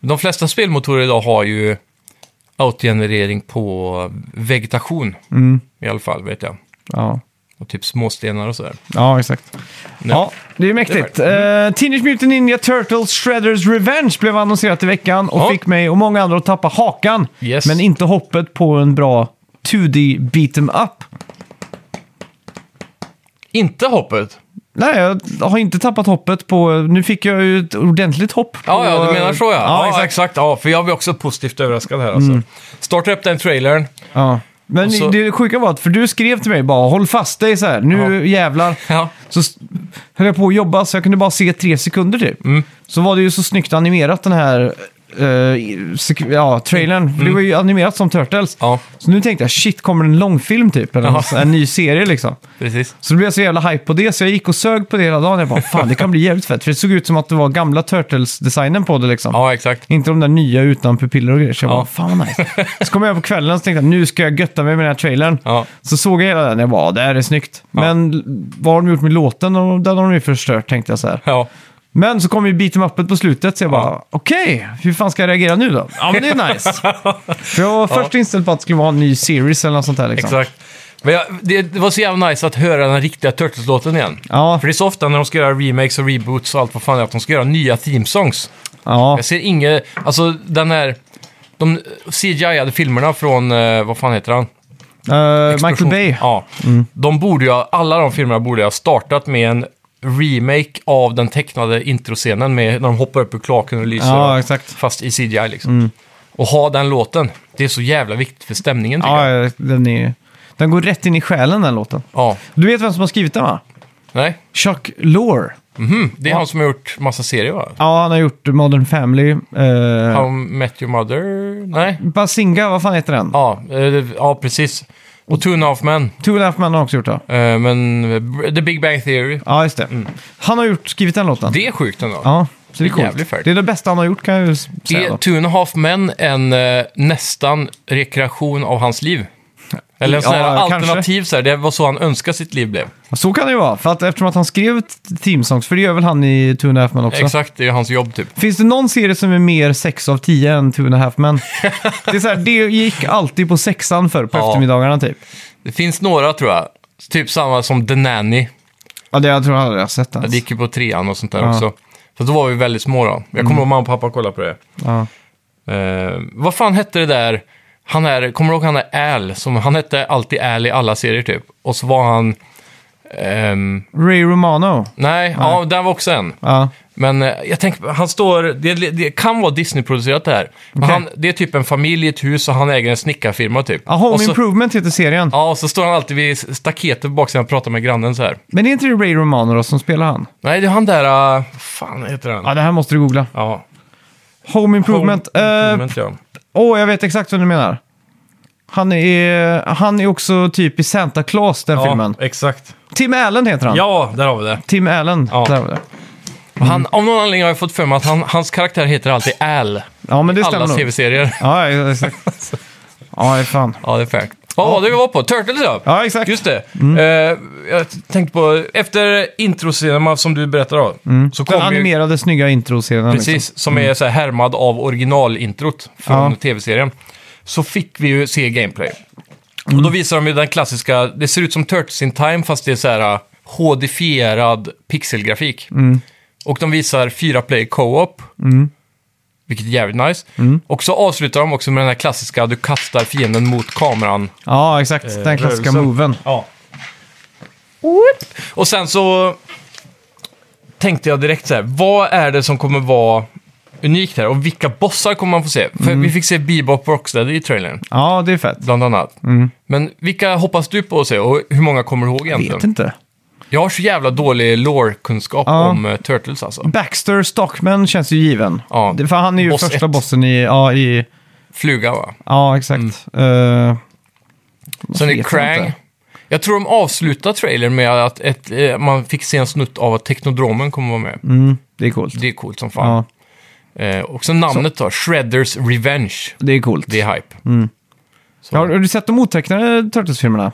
B: De flesta spelmotorer idag har ju autogenerering på vegetation.
A: Mm,
B: I alla fall, vet jag.
A: ja.
B: Och typ småstenar och sådär.
A: ja, exakt.
B: Nej.
A: Ja, det är ju mäktigt. Eh, Teenage Mutant Ninja Turtles Shredders Revenge blev annonserat i veckan och
B: Ja.
A: fick mig och många andra att tappa hakan.
B: Yes.
A: Men inte hoppet på en bra 2D beat 'em up.
B: Inte hoppet!
A: Nej, jag har inte tappat hoppet på... Nu fick jag ju ett ordentligt hopp. På,
B: Ja, ja, du menar så ja.
A: Ja, exakt.
B: Ja, för jag blev också positivt överraskad här alltså. Starta upp den trailern.
A: Ja. Men
B: Och så-
A: det sjuka var att, för du skrev till mig bara håll fast dig så här, nu
B: Ja.
A: jävlar.
B: Ja.
A: Så s- höll jag på att jobba så jag kunde bara se tre sekunder typ.
B: Mm.
A: Så var det ju så snyggt animerat den här eh, sek- ja, trailern. För det var ju animerat som Turtles.
B: Mm. Ja,
A: Så nu tänkte jag shit, kommer det en långfilm typ? Eller
B: Ja.
A: en- en ny serie liksom.
B: precis.
A: Så då blev jag så jävla hype på det så jag gick och sög på det hela dagen. Jag bara fan det kan bli jävligt fett. För det såg ut som att det var gamla Turtles-designen på det liksom.
B: Ja, exakt.
A: Inte de där nya utan pupiller och grejer. Så jag
B: Ja.
A: bara, fan vad nice. Så kom jag på kvällen och tänkte jag, nu ska jag götta mig med den här trailern.
B: Ja.
A: Så såg jag hela den jag bara, det här är snyggt. Men vad har de gjort med låten? Och Den har de ju förstört tänkte jag så här.
B: Ja.
A: Men så kom ju beat em uppet på slutet så jag
B: Ja.
A: bara, okej, hur fan ska jag reagera nu då? Ja men det är nice. För jag var först inställd på att det skulle vara en ny series eller något sånt där liksom.
B: Exakt. Men jag, det, det var så jävla nice att höra den riktiga Turtles-låten igen.
A: Ja,
B: För det är så ofta när de ska göra remakes och reboots och allt vad fan det är, att de ska göra nya themesongs.
A: ja,
B: Jag ser inget, alltså den här, de CGI-ade filmerna från, eh, vad fan heter han?
A: Eh, Michael
B: Explosion-
A: Bay. Mm.
B: Ja. De borde ju, ha- alla de filmerna borde ju ha startat med en remake av den tecknade introscenen med när de hoppar upp ur klaken och lyser.
A: Ja, Mm.
B: och-
A: exakt.
B: Fast i CGI liksom. Och ha den låten. Det är så jävla viktigt för stämningen tycker jag.
A: Ja, den, är, den går rätt in i själen den låten.
B: Ja.
A: Du vet vem som har skrivit den va?
B: Nej.
A: Chuck Lore.
B: Mhm, Det är han som har gjort massa serier va?
A: Ja, han har gjort Modern Family. Eh,
B: How I Met Your Mother? Nej.
A: Basinga, vad fan heter den?
B: Ja, eh, ja precis. Och Two and a Half Men.
A: Two and a half men har också gjort det.
B: Eh, men eh, The Big Bang Theory.
A: Ja, just det. Han har gjort, skrivit den låten.
B: Mm. Det är sjukt ändå.
A: ja, så det är
B: det är
A: coolt.
B: jävligt färdigt.
A: Det är det bästa han har gjort kan jag ju s- säga.
B: är
A: då.
B: Two and a Half Men en eh, nästan rekreation av hans liv? Eller en sån här
A: Ja, kanske.
B: alternativ, så här, det var så han önskade sitt liv blev.
A: Så kan det ju vara, för att eftersom att han skrev t- Team Songs, för det gör väl han i Two and a half men också.
B: Exakt, det är hans jobb typ.
A: Finns det någon serie som är mer 6 av 10 än Two and a half men? det, är så här, det gick alltid på sexan förr på
B: Ja.
A: eftermiddagarna typ.
B: Det finns några tror jag, typ samma som The Nanny.
A: Ja, det jag tror jag aldrig jag har sett ens.
B: Det gick ju på trean och sånt där
A: Ja. Mm.
B: också. För då var vi väldigt små då. Jag kommer ihåg mamma och pappa kollade på det.
A: Ja.
B: Eh, vad fan hette det där, han är, kommer du ihåg han är Al? Som, han hette alltid Al i alla serier typ. Och så var han, ehm,
A: Ray Romano.
B: nej, ja där var också en.
A: Ja.
B: Men eh, jag tänker, han står, det, det kan vara Disney-producerat det här. Men
A: Okej.
B: han, det är typ en familj i ett hus och han äger en snickarfirma typ.
A: Ja, Home
B: och så,
A: Improvement heter serien.
B: ja, och så står han alltid vid staketet på baksidan och pratar med grannen så här.
A: Men är inte det Ray Romano då som spelar han?
B: Nej, det är han där, uh, fan heter han?
A: Ja, det här måste du googla.
B: Ja,
A: Home Improvement.
B: Home
A: Eh,
B: Improvement, ja.
A: Åh, jag vet exakt vad du menar. Han är, han är också typ i Santa Claus, den filmen.
B: Ja, exakt.
A: Tim Allen heter han.
B: Ja, där har vi det.
A: Tim Allen.
B: Ja.
A: Där var det.
B: Och Han, av någon anledning har jag fått för mig att han, hans karaktär heter alltid Al.
A: Ja, men det stämmer
B: Alla
A: nog.
B: tv-serier.
A: Ja, ja, exakt. Ja, fan.
B: Ja, det är fair. Vad var det vi var på? Turtles ja!
A: Ja, exakt. Mm.
B: Just det. Eh, jag tänkte på, efter introscenerna som du berättade om, så
A: Mm. Den
B: kom ju,
A: animerade snygga introscenen. liksom.
B: precis, som är så här härmad av originalintrot från
A: Ja.
B: tv-serien, så fick vi ju se gameplay. Och
A: Mm.
B: då visar de ju den klassiska, det ser ut som Turtles in Time fast det är så här eh, HD-fierad pixelgrafik.
A: Mm.
B: Och de visar fyra player co-op, vilket är jävligt nice.
A: Mm.
B: Och så avslutar de också med den här klassiska, du kastar fienden mot kameran.
A: Ja, exakt. Den klassiska
B: Eh, rörelsen.
A: moven.
B: Ja. Och sen så tänkte jag direkt så här, vad är det som kommer vara unikt här och vilka bossar kommer man få se? För
A: Mm.
B: vi fick se Bebop och Rocksteady i trailern,
A: Ja, det är fett.
B: bland annat. Men vilka hoppas du på att se och hur många kommer du ihåg
A: Mm. Jag
B: egentligen?
A: vet inte.
B: Jag har så jävla dålig lore-kunskap
A: Ja.
B: om eh, Turtles alltså.
A: Baxter Stockman känns ju given.
B: Ja.
A: Det- För han är ju
B: Boss
A: första
B: ett.
A: bossen i... Ja, i,
B: Fluga va?
A: ja exakt.
B: Mm.
A: Eh,
B: Sen är det
A: vet
B: Krang.
A: jag
B: Jag,
A: inte.
B: tror de avslutar trailern med att ett, eh, man fick se en snutt av att Teknodromen kommer vara med.
A: mm, det är coolt.
B: Det är coolt som fan.
A: Ja,
B: Eh, och sen namnet då, Shredders Revenge.
A: det är coolt.
B: Det är hype. Så.
A: Har,
B: Ja,
A: har du sett de otecknade Turtles-filmerna?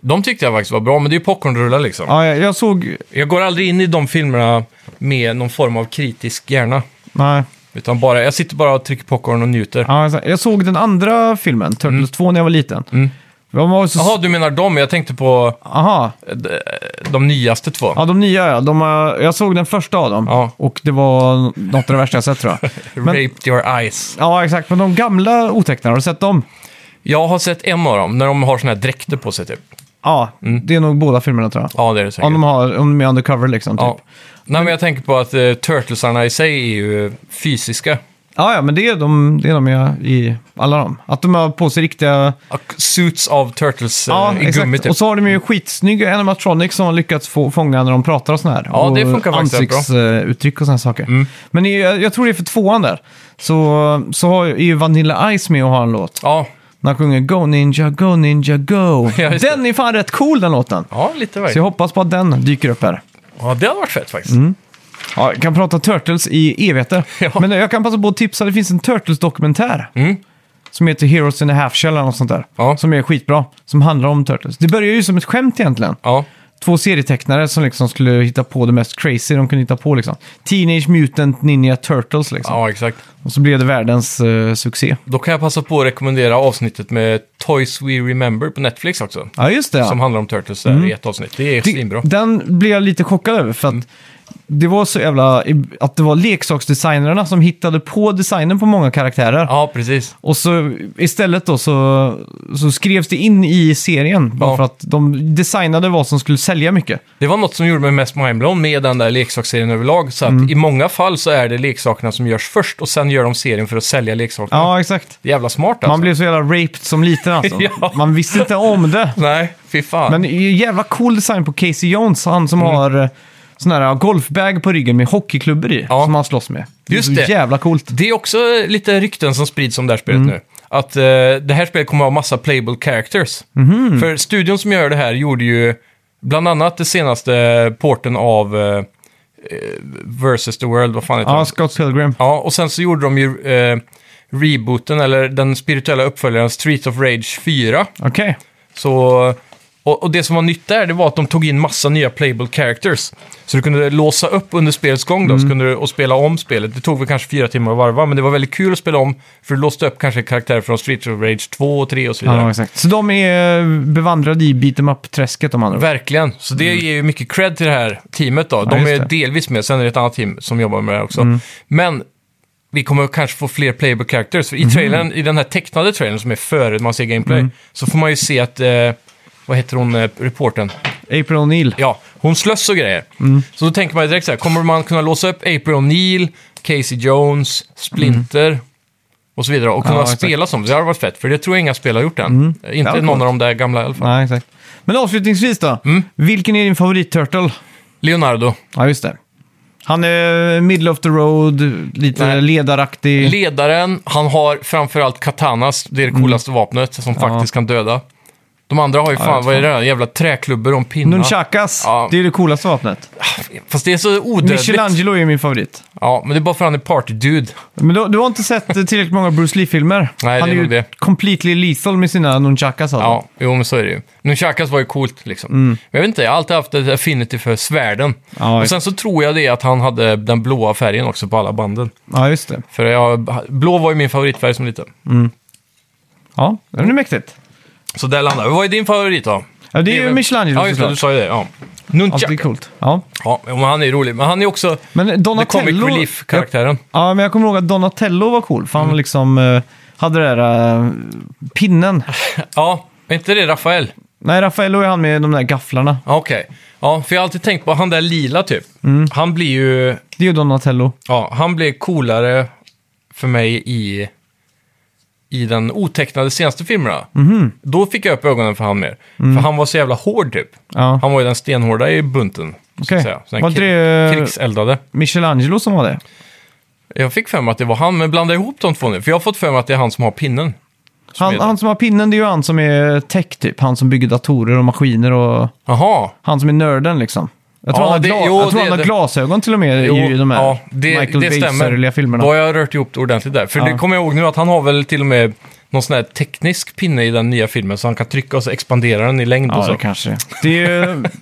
B: De tyckte jag faktiskt var bra, men det är ju popcornrullar liksom.
A: Ja, jag, jag såg...
B: Jag går aldrig in i de filmerna med någon form av kritisk hjärna.
A: Nej.
B: Utan bara, jag sitter bara och trycker popcorn och njuter.
A: Ja, exakt. jag såg den andra filmen, Turtles 2, när jag var liten. De var så...
B: Mm. Jaha, du menar dem? Jag tänkte på
A: Aha.
B: eh, de- de nyaste två.
A: Ja, de nya ja. De, eh, jag såg den första av dem.
B: Ja.
A: Och det var något av det värsta jag sett tror jag. Men,
B: Raped your eyes.
A: ja, exakt. Men de gamla otecknade, har du sett dem?
B: Jag har sett en av dem, när de har såna här dräkter på sig typ.
A: Ja, det är nog båda filmerna tror jag.
B: Ja, det är det säkert.
A: Om de, har, om de är undercover liksom. Typ.
B: ja. Nej, men jag tänker på att eh, Turtlesarna i sig är ju eh, fysiska.
A: Ja, ja, men det är de, det är de jag, i alla dem. Att de har på sig riktiga...
B: Och Suits av Turtles eh,
A: Ja,
B: i gummi typ.
A: Och så har de ju skitsnygga animatronics som har lyckats få, fånga när de pratar och sådär. här.
B: Ja,
A: och
B: det funkar faktiskt rätt bra. Mm.
A: Ansiktsuttryck och sådana saker. Men i, jag tror det är för tvåan där. Så, så har, är ju Vanilla Ice med och har en låt.
B: Ja,
A: När han sjunger Go Ninja, Go Ninja, Go.
B: Ja, just det.
A: den är fan rätt cool den låten.
B: ja lite
A: Så jag Mm.
B: verkligen.
A: hoppas på att den dyker upp här.
B: Ja, det hade varit fett faktiskt.
A: Ja, jag kan prata Turtles i evigheter.
B: Ja.
A: Men jag kan passa på att tipsa, det finns en Turtles-dokumentär.
B: Mm.
A: Som heter Heroes in a Half Shell eller något sånt där.
B: Ja.
A: Som är skitbra. Som handlar om Turtles. Det börjar ju som ett skämt egentligen.
B: Ja.
A: Två serietecknare som liksom skulle hitta på det mest crazy de kunde hitta på liksom. Teenage Mutant Ninja Turtles liksom.
B: ja, exakt.
A: Och så blev det världens eh, succé.
B: Då kan jag passa på att rekommendera avsnittet med Toys We Remember på Netflix också.
A: Ja, just det. ja. Mm.
B: Som handlar om Turtles där i ett avsnitt. Det är
A: Det-
B: svinbra. Mm.
A: Den blev jag lite chockad över för att det var så jävla... Att det var leksaksdesignerna som hittade på designen på många karaktärer.
B: Ja, precis.
A: Och så istället då så, så skrevs det in i serien. Bara
B: Ja.
A: för att de designade vad som skulle sälja mycket.
B: Det var något som gjorde mig mest mindblown med den där leksaksserien överlag. Så att
A: Mm.
B: i många fall så är det leksakerna som görs först och sen gör de serien för att sälja leksakerna.
A: Ja, exakt.
B: Det är jävla smart alltså.
A: Man blev så jävla raped som liten alltså.
B: Ja.
A: Man visste inte om det.
B: Nej, fy fan.
A: Men jävla cool design på Casey Jones. Han
B: Mm.
A: som har eh, sån här golfbag på ryggen med hockeyklubbor i.
B: Ja.
A: Som han slåss med.
B: Just
A: det. är
B: det.
A: så jävla coolt.
B: Det är också lite rykten som sprids om det här spelet nu. Att eh, det här spelet kommer att ha massa playable characters. För studion som gör det här gjorde ju bland annat det senaste porten av eh, eh, Versus the World, vad fan heter
A: Ja,
B: den?
A: Scott Pilgrim.
B: Ja, och sen så gjorde de ju eh, rebooten, eller den spirituella uppföljaren Street of Rage 4.
A: Okej.
B: Så, och, och det som var nytt där, det var att de tog in massa nya playable characters. Så du kunde låsa upp under spelets gång då, så
A: Mm.
B: kunde du, och spela om spelet. Det tog väl kanske fyra timmar att varva, men det var väldigt kul att spela om, för du låste upp kanske karaktärer från Street of Rage 2 och 3 och så vidare.
A: Ja, exakt. Så de är eh, bevandrade i beat em up-träsket om andra ord.
B: Verkligen, så det ger ju mycket cred till det här teamet då. De
A: Mm. just
B: är
A: det. Mm.
B: delvis med, sen är det ett annat team som jobbar med det här också. Men vi kommer kanske få fler playable characters. För
A: Mm.
B: i, trailern, i den här tecknade trailern som är före man ser gameplay, så får man ju se att, eh, vad heter hon, eh, reporten?
A: April O'Neill.
B: Ja, hon slöss och grejer.
A: Mm.
B: Så då tänker man ju direkt så här, kommer man kunna låsa upp April O'Neill, Casey Jones, Splinter och så vidare och kunna
A: Ja, exakt.
B: spela som? Det hade varit fett, för det tror jag inga spel har gjort än. Eh,
A: Det
B: Inte
A: var
B: någon
A: coolt.
B: av de där gamla i alla fall.
A: Nej, exakt. Men avslutningsvis då.
B: Mm.
A: Vilken är din favorit-turtle?
B: Leonardo.
A: Ja, just det. Han är eh, middle of the road, lite
B: Nej.
A: ledaraktig. Mm.
B: Ledaren, han har framförallt katanas, det är det coolaste vapnet som faktiskt kan döda. De andra har ju fan,
A: vet
B: vad är det där? Jävla träklubbor om pinnar.
A: Nunchakas,
B: Ja.
A: det är det coolaste vapnet.
B: Fast det är så odödligt.
A: Michelangelo är min favorit.
B: Ja, men det är bara för han är party-dude.
A: Men du, du har inte sett eh, tillräckligt många Bruce Lee-filmer.
B: Nej,
A: Han är
B: det är
A: ju
B: nog det.
A: completely lethal med sina nunchakas. Alltså.
B: Ja, jo men så är det ju. Nunchakas var ju coolt liksom. Men jag vet inte, jag har alltid haft ett affinity för svärden.
A: Mm. Ja,
B: och sen så tror jag det att han hade den blåa färgen också på alla banden.
A: ja just det.
B: För jag, blå var ju min favoritfärg som liten.
A: Ja, det är mäktigt.
B: Så där landade vi. Vad är din favorit då?
A: Ja, det är ju
B: väl-
A: Michelangelo
B: Ja, just det, du
A: såklart.
B: sa ju det. Ja.
A: Alltid
B: Nunchak.
A: coolt. Ja.
B: Ja, men han är ju rolig. Men han är också
A: Men
B: the comic
A: Donatello...
B: relief-karaktären.
A: Ja, men jag kommer ihåg att Donatello var cool.
B: Mm.
A: För han liksom eh, hade den där eh, pinnen.
B: Ja. är inte det Rafael?
A: Nej, Raffaello är han med de där gafflarna.
B: Ja, Okej. Ja, för jag har alltid tänkt på han där lila typ.
A: Mm.
B: Han blir ju...
A: Det är ju Donatello.
B: Ja, han blev coolare för mig i, i den otecknade senaste filmen. då.
A: Mhm.
B: Då fick jag upp ögonen för han mer. För han var så jävla hård typ.
A: Mm. Ja.
B: Han var ju den stenhårda i bunten. så
A: Okej.
B: att säga. Så den
A: Var inte
B: kri-
A: det, eh,
B: Krigseldade.
A: Michelangelo som var det.
B: Jag fick för mig att det var han, men blanda ihop de två nu. För jag har fått för mig att det är han som har pinnen.
A: Han,
B: är det.
A: han som har pinnen, det är ju han som är tech typ. Han som bygger datorer och maskiner och
B: Jaha.
A: han som är nörden liksom. Jag tror
B: Ja,
A: han har,
B: det-
A: gla-
B: jo,
A: jag tror
B: det-
A: han har
B: det-
A: glasögon till och med i de här Michael Bay-sörliga filmerna.
B: Då har jag rört ihop det ordentligt där. För
A: Ja.
B: det kommer jag ihåg nu att han har väl till och med någon sån här teknisk pinne i den nya filmen. Så han kan trycka och så expanderar den i längd och
A: Ja,
B: så.
A: det kanske det. det är ju...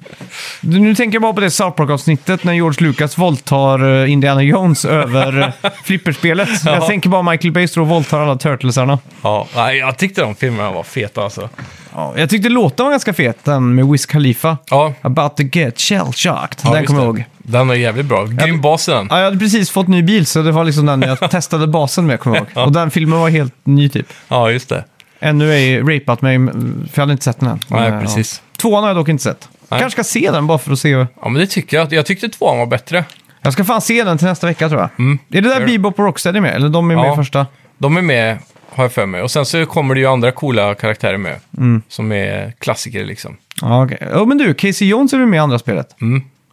A: Du, Nu tänker jag bara på det South Park-avsnittet när George Lucas våldtar eh, Indiana Jones över eh, flipperspelet. Jag tänker bara Michael Bay står och våldtar alla Turtlesarna.
B: Ja, nej, jag tyckte de filmerna var feta alltså.
A: Ja, jag tyckte låten var ganska fet, den med Wiz Khalifa.
B: Ja,
A: About to get shell-shocked.
B: ja,
A: den
B: just
A: kommer jag
B: det.
A: ihåg.
B: Den var jävligt bra. Grym bas i den.
A: Ja, jag hade precis fått ny bil, så det var liksom den jag testade basen med, kommer jag ihåg. Och den filmen var helt ny typ.
B: Ja, just det.
A: Ännu är jag rapat mig, för jag hade inte sett den än.
B: Nej,
A: Men,
B: precis.
A: Ja. Tvåan har jag dock inte sett.
B: Nej.
A: Kanske ska se den bara för att se.
B: Ja, men det tycker jag. Jag tyckte tvåan var bättre.
A: Jag ska fan se den till nästa vecka tror jag. Är det där
B: Mm. gör det.
A: Bebop och Rocksteady med? Eller de är med
B: Ja.
A: i första?
B: De är med, har jag för mig. Och sen så kommer det ju andra coola karaktärer med.
A: Mm.
B: Som är klassiker liksom.
A: Ja, okej. Ja, men du, Casey Jones är väl med i andra spelet?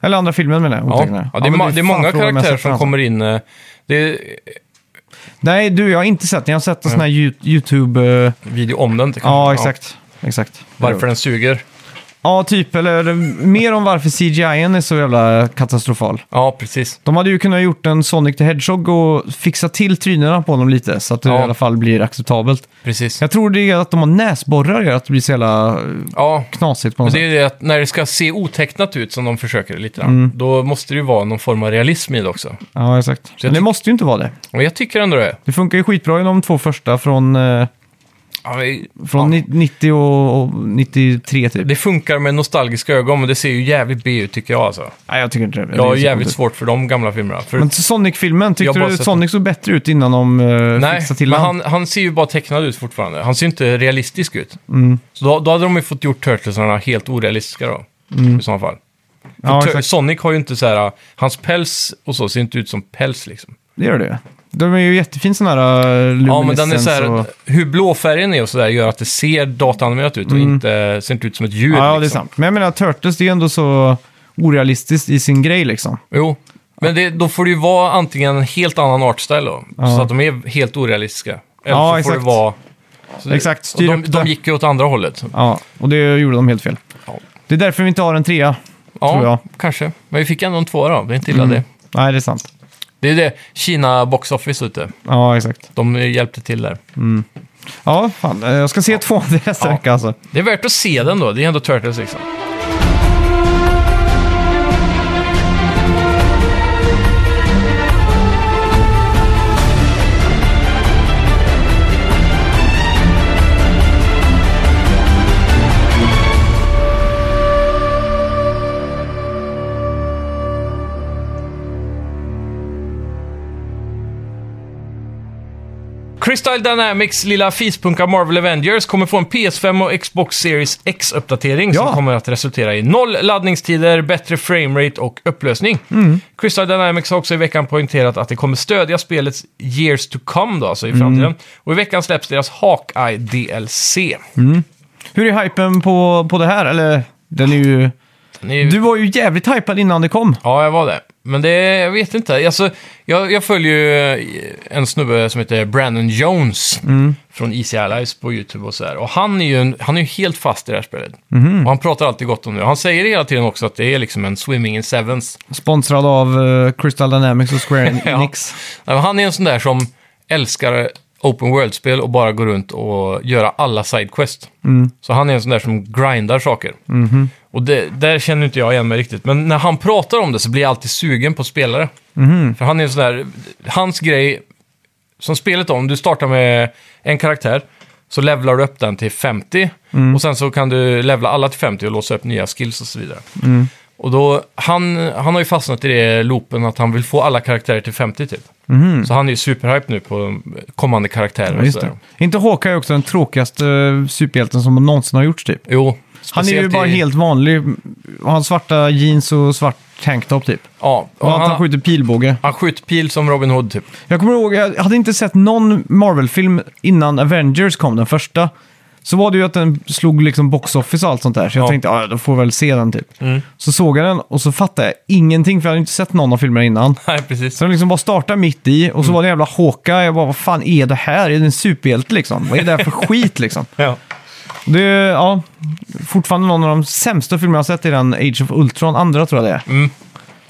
A: Eller andra filmen menar jag.
B: Mm. Ja,
A: otecknade.
B: ja, det, är
A: men
B: ma- det är
A: fan
B: många
A: frågan om jag
B: karaktärer
A: sett den,
B: som
A: alltså.
B: kommer in. eh, Det är
A: Nej, du, jag har inte sett den. Jag har sett en sån här Yout- YouTube... eh,
B: video om den. kanske.
A: Ja, exakt. Exakt.
B: Varför den suger.
A: Ja, typ. Eller mer om varför CGI är så jävla katastrofal.
B: Ja, precis.
A: De hade ju kunnat gjort en Sonic the Hedgehog och fixa till trynerna på honom lite så att det
B: Ja.
A: i alla fall blir acceptabelt.
B: precis.
A: Jag tror det är att de har näsborrar gör att det blir så jävla eh,
B: Ja,
A: knasigt på
B: men
A: något
B: det
A: sätt.
B: är det att när det ska se otecknat ut som de försöker lite grann,
A: Mm.
B: då måste det ju vara någon form av realism i det också.
A: Ja, exakt.
B: jag
A: Men det
B: tyck-
A: måste ju inte vara det.
B: Och jag tycker ändå det.
A: Det funkar ju skitbra i de två första från, eh,
B: Ja, men-
A: från ni- 90 och och 93 typ.
B: Det funkar med nostalgiska ögon, men det ser ju jävligt B ut tycker jag alltså.
A: Nej, jag tycker inte det. det.
B: Jag har
A: är så
B: jävligt
A: konstigt.
B: svårt för de gamla filmerna. För,
A: Men Sonic-filmen,
B: Jag har
A: tyckte
B: bara
A: du
B: sett-
A: Sonic såg bättre ut innan de uh,
B: nej,
A: fixade till
B: men
A: han?
B: han, han ser ju bara tecknad ut fortfarande. Han ser ju inte realistisk ut.
A: Mm.
B: Så då, då hade de ju fått gjort Turtlesarna helt orealistiska då. I så fall.
A: Mm. Ja,
B: Tur-
A: exakt.
B: Sonic har ju inte så här, hans päls och så ser inte ut som päls liksom.
A: Det gör det ju. De är ju jättefin sån här uh,
B: Ja, men den är så här,
A: Och...
B: hur blåfärgen är och sådär gör att det ser dataanimerat ut och inte, ser inte ut som ett djur.
A: Mm. Ja, det är
B: liksom.
A: sant. Men jag menar, Turtles det är ju ändå så orealistiskt i sin grej liksom.
B: Jo, men det, då får det ju vara antingen en helt annan artstyle då, så att de är helt orealistiska. Eller
A: Ja,
B: så får
A: exakt.
B: det vara... så det-
A: Exakt,
B: och
A: styr
B: de,
A: upp det.
B: de gick ju åt andra hållet.
A: Ja, och det gjorde de helt fel.
B: Ja.
A: Det är därför vi inte har en trea.
B: Ja,
A: Tror jag. Mm.
B: kanske. Men vi fick ändå en tvåa då, det är inte illa det.
A: Nej, det är sant.
B: Det är det Kina Box Office ute.
A: Ja, exakt.
B: De hjälpte till där.
A: Ja, fan. eh, Jag ska se tvåan till nästa
B: Ja.
A: vecka alltså.
B: Det är värt att se den då, det är ändå Turtles liksom. Crystal Dynamics lilla fispunka Marvel Avengers kommer få en PS5 och Xbox Series X-uppdatering som
A: Ja.
B: kommer att resultera i noll laddningstider, bättre framerate och upplösning. Crystal Dynamics har också i veckan poängterat att det kommer stödja spelets years to come då, alltså i framtiden. Och i veckan släpps deras Hawkeye DLC.
A: Hur är hypen på, på det här? Eller, den är ju...
B: Den är ju-
A: Du var ju jävligt hypad innan det kom.
B: Ja, jag var det. Men det, jag vet inte. Alltså, jag, jag följer ju eh, en snubbe som heter Brandon Jones från Easy Allies på YouTube och sådär. Och han är ju, en, han är ju helt fast i det här spelet. Och han pratar alltid gott om det. Och han säger hela tiden också att det är liksom en swimming in sevens.
A: Sponsrad av eh, Crystal Dynamics och Square
B: Ja.
A: Enix.
B: Nej, men Han är en sån där som älskar open world-spel och bara går runt och göra alla sidequest. Så han är en sån där som grindar saker. Och det, där känner inte jag igen mig riktigt. Men när han pratar om det så blir jag alltid sugen på spelare.
A: Mhm.
B: För han är en sån där, hans grej, som spelet då, om du startar med en karaktär, så levlar du upp den till 50.
A: Mm.
B: Och sen så kan du levla alla till 50 och låsa upp nya skills och så vidare.
A: Mm.
B: Och då, han, han har ju fastnat i det loopen att han vill få alla karaktärer till 50 typ. Så han är ju superhype nu på kommande karaktärer.
A: Mhm. Ja,
B: och
A: just
B: sådär.
A: det. Inte Hawkeye är också den tråkigaste eh, superhjälten som någonsin har gjorts typ.
B: Jo,
A: Han är ju
B: speciellt
A: bara
B: i-
A: helt vanlig. Han har svarta jeans och svart tanktop typ.
B: Ja,
A: Och att han
B: han,
A: skjuter pilbåge.
B: han skjuter pil som Robin Hood typ.
A: Jag kommer ihåg, jag hade inte sett någon Marvel-film innan Avengers kom, den första. Så var det ju att den slog liksom box office och allt sånt där. Så jag
B: Ja. Mm.
A: tänkte, ja, då får jag väl se den typ. Så såg jag den och så fattade jag ingenting, för jag hade inte sett någon av filmerna innan.
B: Nej, precis.
A: Så den liksom bara startade mitt i och så
B: Mm.
A: var det en jävla Hawkeye. Jag bara, vad fan är det här? Är det en superhjälte liksom? Vad är det här för skit liksom?
B: Ja.
A: Det är, ja, fortfarande någon av de sämsta filmer jag har sett i den Age of Ultron, andra tror jag det är.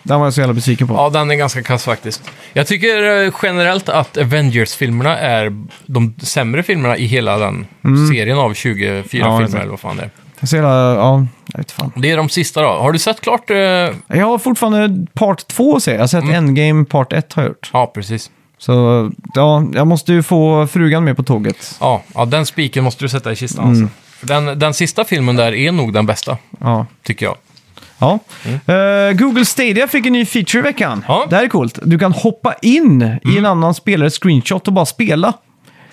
A: Den var jag så jävla besviken på.
B: Mm. ja, den är ganska kass faktiskt. Jag tycker eh, generellt att Avengers-filmerna är de sämre filmerna i hela den serien av 24
A: Ja,
B: filmer
A: exakt.
B: eller vad fan det är.
A: Så jävla, ja, jag vet fan.
B: Det är de sista då. Har du sett klart? eh,
A: Jag har fortfarande part 2 att se. Jag har
B: Mm.
A: sett Endgame part 1 har jag gjort.
B: Ja, precis.
A: Så ja, jag måste ju få frugan med på tåget.
B: Ja, ja, den spiken måste du sätta i kistan. Alltså. För den, den sista filmen där är nog den bästa,
A: Ja.
B: tycker jag.
A: Ja. Eh, Google Stadia fick en ny feature i veckan.
B: Mm. Ja. Mm.
A: Det här är coolt. Du kan hoppa in i en annan spelares screenshot och bara spela.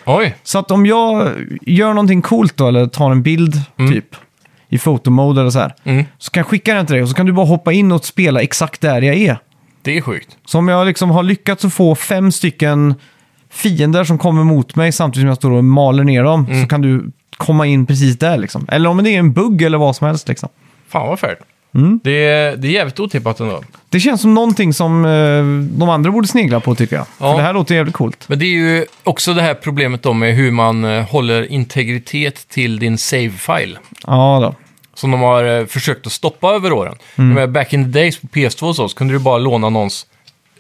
B: Oj!
A: Så att om jag gör någonting coolt då, eller tar en bild typ i fotomode eller så här,
B: Mm.
A: så kan jag skicka den till dig och så kan du bara hoppa in och spela exakt där jag är.
B: Det är sjukt.
A: Så om jag liksom har lyckats att få fem stycken fiender som kommer mot mig samtidigt som jag står och maler ner dem så kan du komma in precis där liksom. Eller om det är en bugg eller vad som helst liksom.
B: Fan vad färdigt. Det, är- det är jävligt otippat ändå.
A: Det känns som någonting som eh, de andra borde snegla på tycker jag.
B: Ja.
A: För det här låter jävligt coolt.
B: Men det är ju också det här problemet då med hur man eh, håller integritet till din save-file.
A: Ja då.
B: Som de har eh, försökt att stoppa över åren.
A: Mm.
B: Jag menar, Back in the days på PS2 och så, så kunde du bara låna någons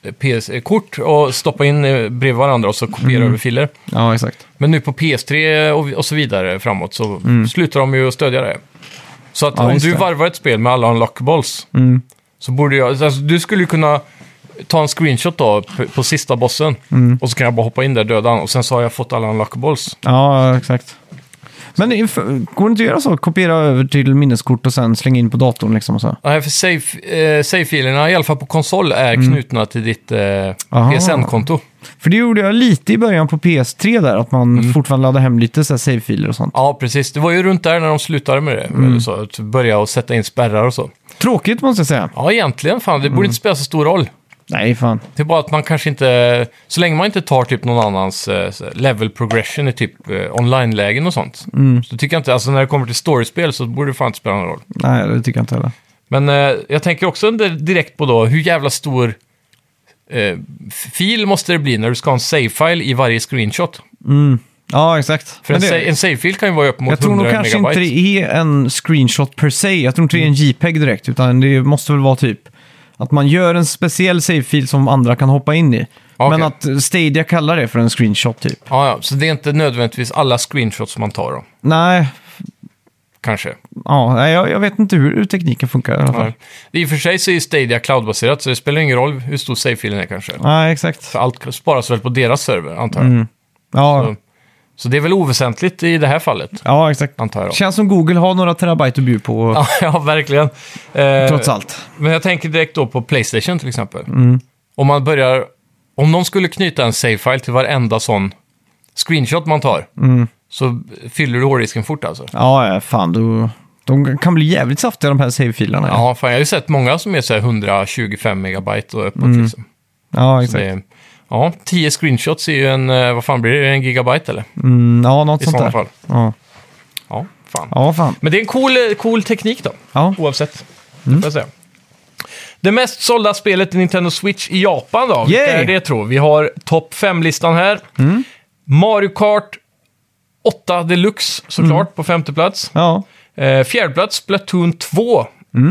B: eh, PS-kort och stoppa in eh, bredvid varandra och så kopiera
A: Mm.
B: över filer.
A: Ja, exakt.
B: Men nu på PS3 och, och så vidare framåt så slutar de ju att stödja det. Så att
A: Mm. Ja,
B: om
A: just
B: du
A: det. Mm.
B: varvar ett spel med alla unlockballs så borde jag... Alltså, du skulle ju kunna ta en screenshot då på, på sista bossen
A: Mm.
B: och så kan jag bara hoppa in där döda han och sen så har jag fått alla unlockballs.
A: Ja, exakt. Men if- går det inte att göra så? Kopiera över till minneskort och sen slänga in på datorn liksom och så?
B: Nej, för save, eh, save-filerna, i alla fall på konsol, är knutna till ditt eh,
A: Aha.
B: PSN-konto.
A: För det gjorde jag lite i början på PS3 där, att man fortfarande laddade hem lite så här save-filer och sånt.
B: Ja, precis. Det var ju runt där när de slutade med det. Eller så, att börja och sätta in spärrar och så.
A: Tråkigt måste jag säga.
B: Ja, egentligen. Fan, det borde inte spela så stor roll.
A: Nej, fan.
B: Det är bara att man kanske inte... Så länge man inte tar typ någon annans eh, så här level progression i typ eh, online-lägen och sånt. Så tycker jag inte... Alltså när det kommer till storiespel så borde det fan inte spela någon roll.
A: Nej, det tycker jag inte heller.
B: Men eh, jag tänker också under- direkt på då hur jävla stor eh, f- fil måste det bli när du ska ha en save-file i varje screenshot.
A: Ja, exakt. Men
B: För en,
A: det-
B: sa- en save-fil kan ju vara upp mot
A: jag tror
B: 100
A: nog kanske
B: megabyte. Mm.
A: inte det är en screenshot per se. Jag tror inte det är en JPEG direkt, utan det måste väl vara typ att man gör en speciell save-fil som andra kan hoppa in i.
B: Okej.
A: Men att Stadia kallar det för en screenshot typ.
B: Ja, ja, så det är inte nödvändigtvis alla screenshots man tar då,
A: Nej,
B: kanske.
A: ja, nej, jag, jag vet inte hur tekniken funkar i alla fall.
B: Ja. I och för sig så är ju Stadia cloud-baserat, så det spelar ingen roll hur stor save-filen är kanske.
A: Nej, exakt.
B: För allt sparas väl på deras server, antar jag.
A: Mm. Ja,
B: Så- Så det är väl oväsentligt i det här fallet,
A: ja exakt.
B: antar jag.
A: Känns som Google har några terabyte att bjuda på,
B: Ja, ja verkligen. Eh,
A: trots allt.
B: Men jag tänker direkt då på Playstation till exempel.
A: Mm.
B: Om man börjar... Om någon skulle knyta en save-file till varenda sån screenshot man tar,
A: Mm.
B: så fyller du hårdisken fort alltså.
A: Ja, ja, fan. Du, de kan bli jävligt saftiga de här save-filerna. Ja,
B: Ja, fan, jag har ju sett många som är så här 125 megabyte och uppåt.
A: Mm.
B: Liksom.
A: ja
B: Så det,
A: exakt.
B: är- ja, 10 screenshots är ju en, eh, vad fan blir det, en gigabyte eller?
A: Mm, ja, något
B: I
A: sånt
B: sådana
A: där.
B: fall.
A: Ja.
B: Ja, fan.
A: ja, fan.
B: Men det är en cool, eh, cool teknik då,
A: Ja.
B: oavsett. Det får jag säga. Det mest sålda spelet i Nintendo Switch i Japan då. Vilka
A: Yay!
B: är det tror Vi har topp 5-listan här. Mario Kart 8 Deluxe såklart på femte plats.
A: Ja.
B: Eh, fjärde plats Splatoon 2.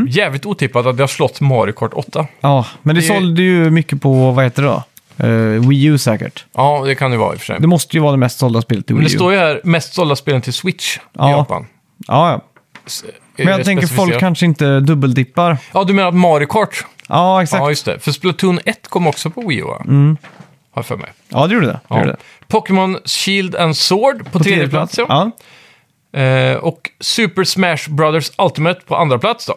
B: Jävligt otippat att det har slått Mario Kart 8.
A: ja, men det,
B: Det-
A: sålde ju mycket på, vad heter det då? Eh, Wii U säkert.
B: Ja, det kan det vara i och för sig.
A: Det måste ju vara det mest sålda spelet i
B: Men
A: Wii
B: det
A: U.
B: står ju här mest sålda spelen till Switch
A: Ja.
B: i Japan.
A: Ja, ja.
B: S-
A: Men
B: är det
A: jag tänker folk
B: Eh, specificerat?
A: kanske inte dubbeldippar.
B: Ja, du menar att Mario Kart?
A: Ja, exakt.
B: Ja, just det. För Splatoon 1 kom också på Wii U, va? Har jag för mig.
A: Ja, det gjorde det. det,
B: Ja.
A: gjorde det.
B: Pokémon Shield and Sword på, tredje plats, ja.
A: ja.
B: Eh, och Super Smash Brothers Ultimate på andra plats då.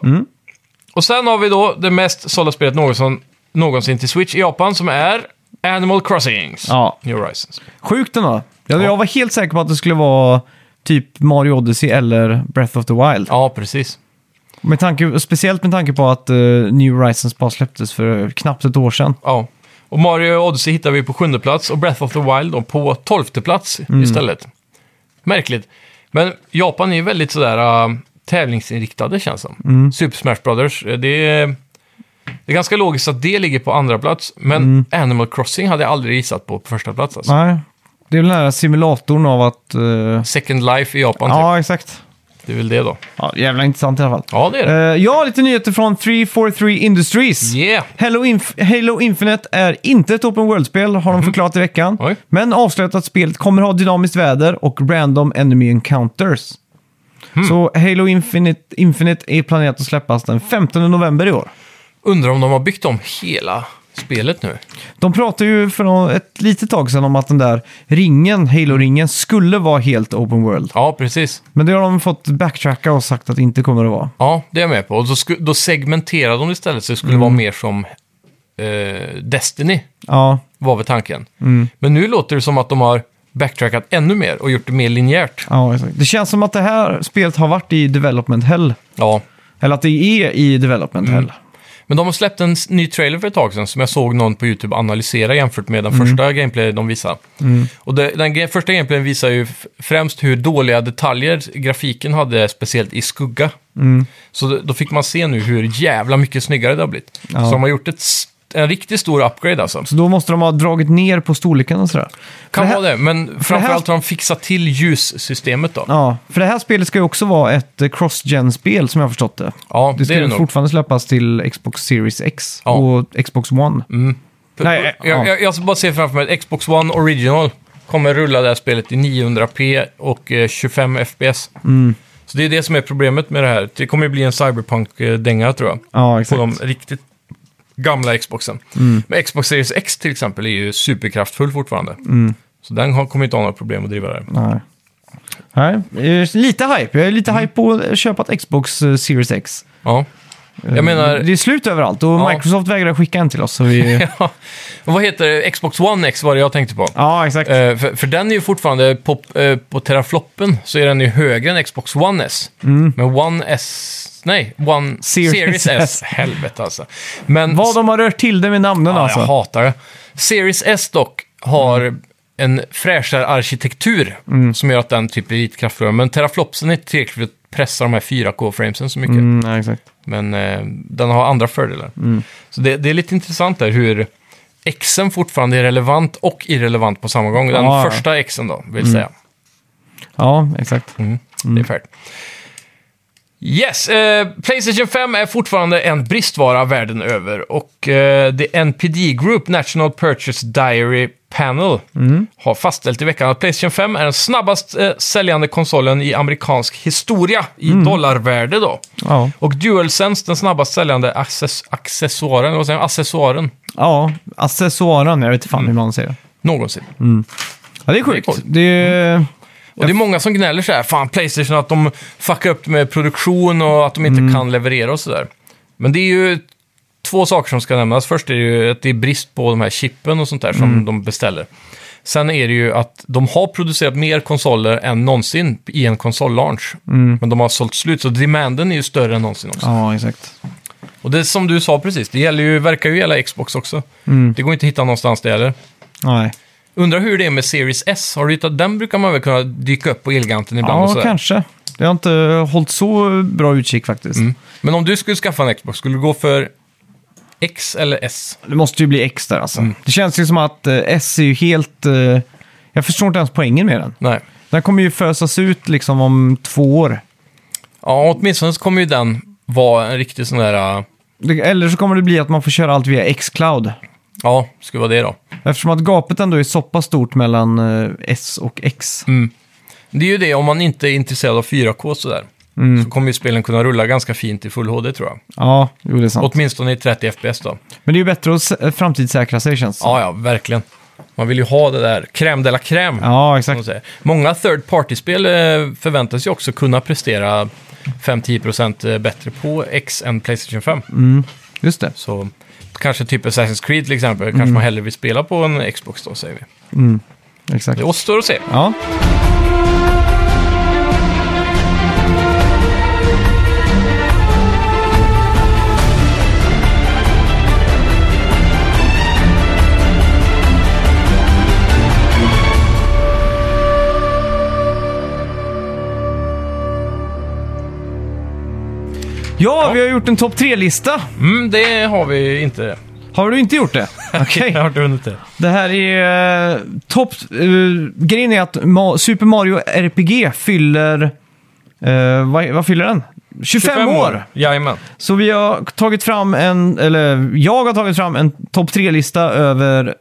B: Och sen har vi då det mest sålda spelet någonsin, någonsin till Switch i Japan som är Animal Crossings.
A: Ja.
B: New Horizons.
A: Sjukt ändå. Jag,
B: Ja.
A: jag var helt säker på att det skulle vara typ Mario Odyssey eller Breath of the Wild.
B: Ja, precis.
A: Med tanke, speciellt med tanke på att eh, New Horizons bara släpptes för knappt ett år sedan.
B: Ja. Och Mario Odyssey hittar vi på sjunde plats och Breath of the Wild då på tolfte plats
A: Mm.
B: istället. Märkligt. Men Japan är ju väldigt sådär äh, tävlingsinriktade känns det som.
A: Mm.
B: Super Smash Brothers, eh, det är, det är ganska logiskt att det ligger på andra plats. Men Animal Crossing hade jag aldrig gissat på på första plats alltså.
A: Mm. Nej. Det är väl den här simulatorn av att... eh,
B: Second Life i Japan,
A: ja, exakt.
B: typ. det är väl det då.
A: Ja, jävla intressant i alla fall.
B: Ja, det är det.
A: Eh, ja, lite nyheter från 343 Industries.
B: Yeah!
A: Halo, Inf- Halo Infinite är inte ett Open World-spel, har de förklarat i veckan.
B: Oj.
A: Men avslöjat att spelet kommer ha dynamiskt väder och random enemy encounters. Så Halo Infinite, Infinite är planerat att släppas den 15 november i år.
B: Undrar om de har byggt om hela spelet nu.
A: De pratade ju för nå- ett litet tag sedan om att den där ringen, Halo-ringen, skulle vara helt open world.
B: Ja, precis.
A: Men det har de fått backtracka och sagt att det inte kommer att vara.
B: Ja, det är jag med på. Och då, sku- då segmenterade de istället så det skulle vara mer som eh, Destiny,
A: Ja,
B: var väl tanken. Men nu låter det som att de har backtrackat ännu mer och gjort det mer linjärt.
A: ja exakt. Det känns som att det här spelet har varit i development hell.
B: Ja.
A: Eller att det är i development
B: Mm.
A: hell.
B: Men de har släppt en s- ny trailer för ett tag sedan som jag såg någon på YouTube analysera jämfört med den första gameplay de visade. Och det, den ge- första gameplayen visar ju f- främst hur dåliga detaljer grafiken hade, speciellt i skugga. Så då, då fick man se nu hur jävla mycket snyggare det har blivit. Så de har gjort ett, s- en riktigt stor upgrade alltså.
A: Så då måste de ha dragit ner på storleken och sådär. För
B: Kan
A: här-
B: vara det, men framförallt har de fixat till ljussystemet då. Ja,
A: Ja, för det här spelet ska ju också vara ett eh, cross-gen-spel som jag har förstått det. Det
B: det,
A: ska
B: är det
A: ju
B: nog.
A: fortfarande släppas till Xbox Series X
B: Ja. Mm.
A: och Xbox One. Nej, ja.
B: jag, jag, jag bara ser framför mig att Xbox One Original kommer rulla det här spelet i 900p och eh, 25 FPS.
A: Mm.
B: Så det är det som är problemet med det här. Det kommer ju bli en cyberpunk-dänga tror jag.
A: Ja,
B: På
A: exakt. Mm.
B: de riktigt gamla Xboxen. Men Xbox Series X till exempel är ju superkraftfull fortfarande.
A: Mm.
B: Så den har- kommer inte ha några problem att driva det här.
A: Nej. Nej. eh, Lite hype. Jag är
B: Mm.
A: lite hype på att köpa ett Xbox eh, Series X.
B: Ja.
A: Eh,
B: Jag menar,
A: Det är slut överallt och
B: Ja.
A: Microsoft vägrar skicka en till oss. Så vi...
B: vad heter det? Xbox One X var det jag tänkte på.
A: ja, exakt.
B: Eh, för, för den är ju fortfarande på, eh, på terafloppen så är den ju högre än Xbox One S. Men One S... Nej, One
A: Series
B: Series, S.
A: S.
B: Helvete alltså. Men
A: Vad de har rört till det med namnen
B: ja,
A: alltså.
B: jag hatar det. Series S dock har en fräschare arkitektur som gör att den typ blir lite kraftfullare. Men teraflopsen är inte tillräckligt för att pressa de här 4K-framesen så mycket.
A: Mm, ja, exakt.
B: Men eh, den har andra fördelar. Så det, det är lite intressant där hur Xen fortfarande är relevant och irrelevant på samma gång. Den
A: Ja, ja.
B: första Xen då, vill säga.
A: Ja, exakt.
B: Mm. Det är färdigt. Yes, eh, Playstation 5 är fortfarande en bristvara världen över. Och eh, det NPD Group, National Purchase Diary Panel, har fastställt i veckan att Playstation 5 är den snabbast eh, säljande konsolen i amerikansk historia i dollarvärde då.
A: Ja.
B: Och DualSense, den snabbast säljande access- accessoaren, eller vad säger man, accessoaren
A: ja, accessoaren. Jag vet inte fan hur man säger det.
B: någonsin.
A: Ja, det är
B: coolt.
A: sjukt. Det är...
B: Och det är många som gnäller så här, fan Playstation, att de fuckar upp med produktion och att de inte kan leverera och sådär. Men det är ju två saker som ska nämnas. Först är det ju att det är brist på de här chippen och sånt där som de beställer. Sen är det ju att de har producerat mer konsoler än någonsin i en konsollaunch. Men de har sålt slut, så demanden är ju större än någonsin också.
A: Ja, exakt.
B: Och det är som du sa precis, det gäller ju, verkar ju gälla Xbox också. Det går inte att hitta någonstans det heller.
A: Nej.
B: Undrar hur det är med Series S. Har du hittat den brukar man väl kunna dyka upp på Elganten ibland och
A: Ja,
B: sådär.
A: kanske. Jag har inte hållit så bra utkik faktiskt.
B: Mm. Men om du skulle skaffa en Xbox, skulle du gå för X eller S?
A: Det måste ju bli X där alltså. Det känns ju som att eh, S är ju helt... eh, jag förstår inte ens poängen med den.
B: Nej.
A: Den kommer ju fösas ut liksom om två år.
B: Ja, åtminstone så kommer ju den vara en riktig sån där... äh,
A: Det, eller så kommer det bli att man får köra allt via X-Cloud.
B: Ja, skulle vara det då.
A: Eftersom att gapet ändå är så pass stort mellan eh, S och X.
B: Det är ju det, om man inte är intresserad av 4K sådär.
A: Mm.
B: Så kommer ju spelen kunna rulla ganska fint i full HD tror jag.
A: Ja, jo det är sant.
B: Åtminstone i 30 FPS då.
A: Men det är ju bättre att sä- framtidssäkra sig känns det som.
B: Ja, ja, verkligen. Man vill ju ha det där crème de la crème.
A: Ja,
B: som de
A: exakt.
B: säger. Många third party-spel eh, förväntas ju också kunna prestera 5-10% eh, bättre på X än Playstation 5.
A: Just det.
B: Så kanske typ Assassin's Creed till exempel, kanske man hellre vill spela på en Xbox då, säger vi.
A: Exakt.
B: Det återstår att se.
A: Ja. Ja, vi har gjort en topp tre-lista.
B: Mm, det har vi inte.
A: Har du inte gjort det? Okej.
B: Jag har inte hunnit det.
A: Det här är eh, topp... eh, grejen är att Ma- Super Mario RPG fyller... eh, vad, vad fyller den? 25, år!
B: Jajamän.
A: Så vi har tagit fram en, eller jag har tagit fram en topp 3-lista över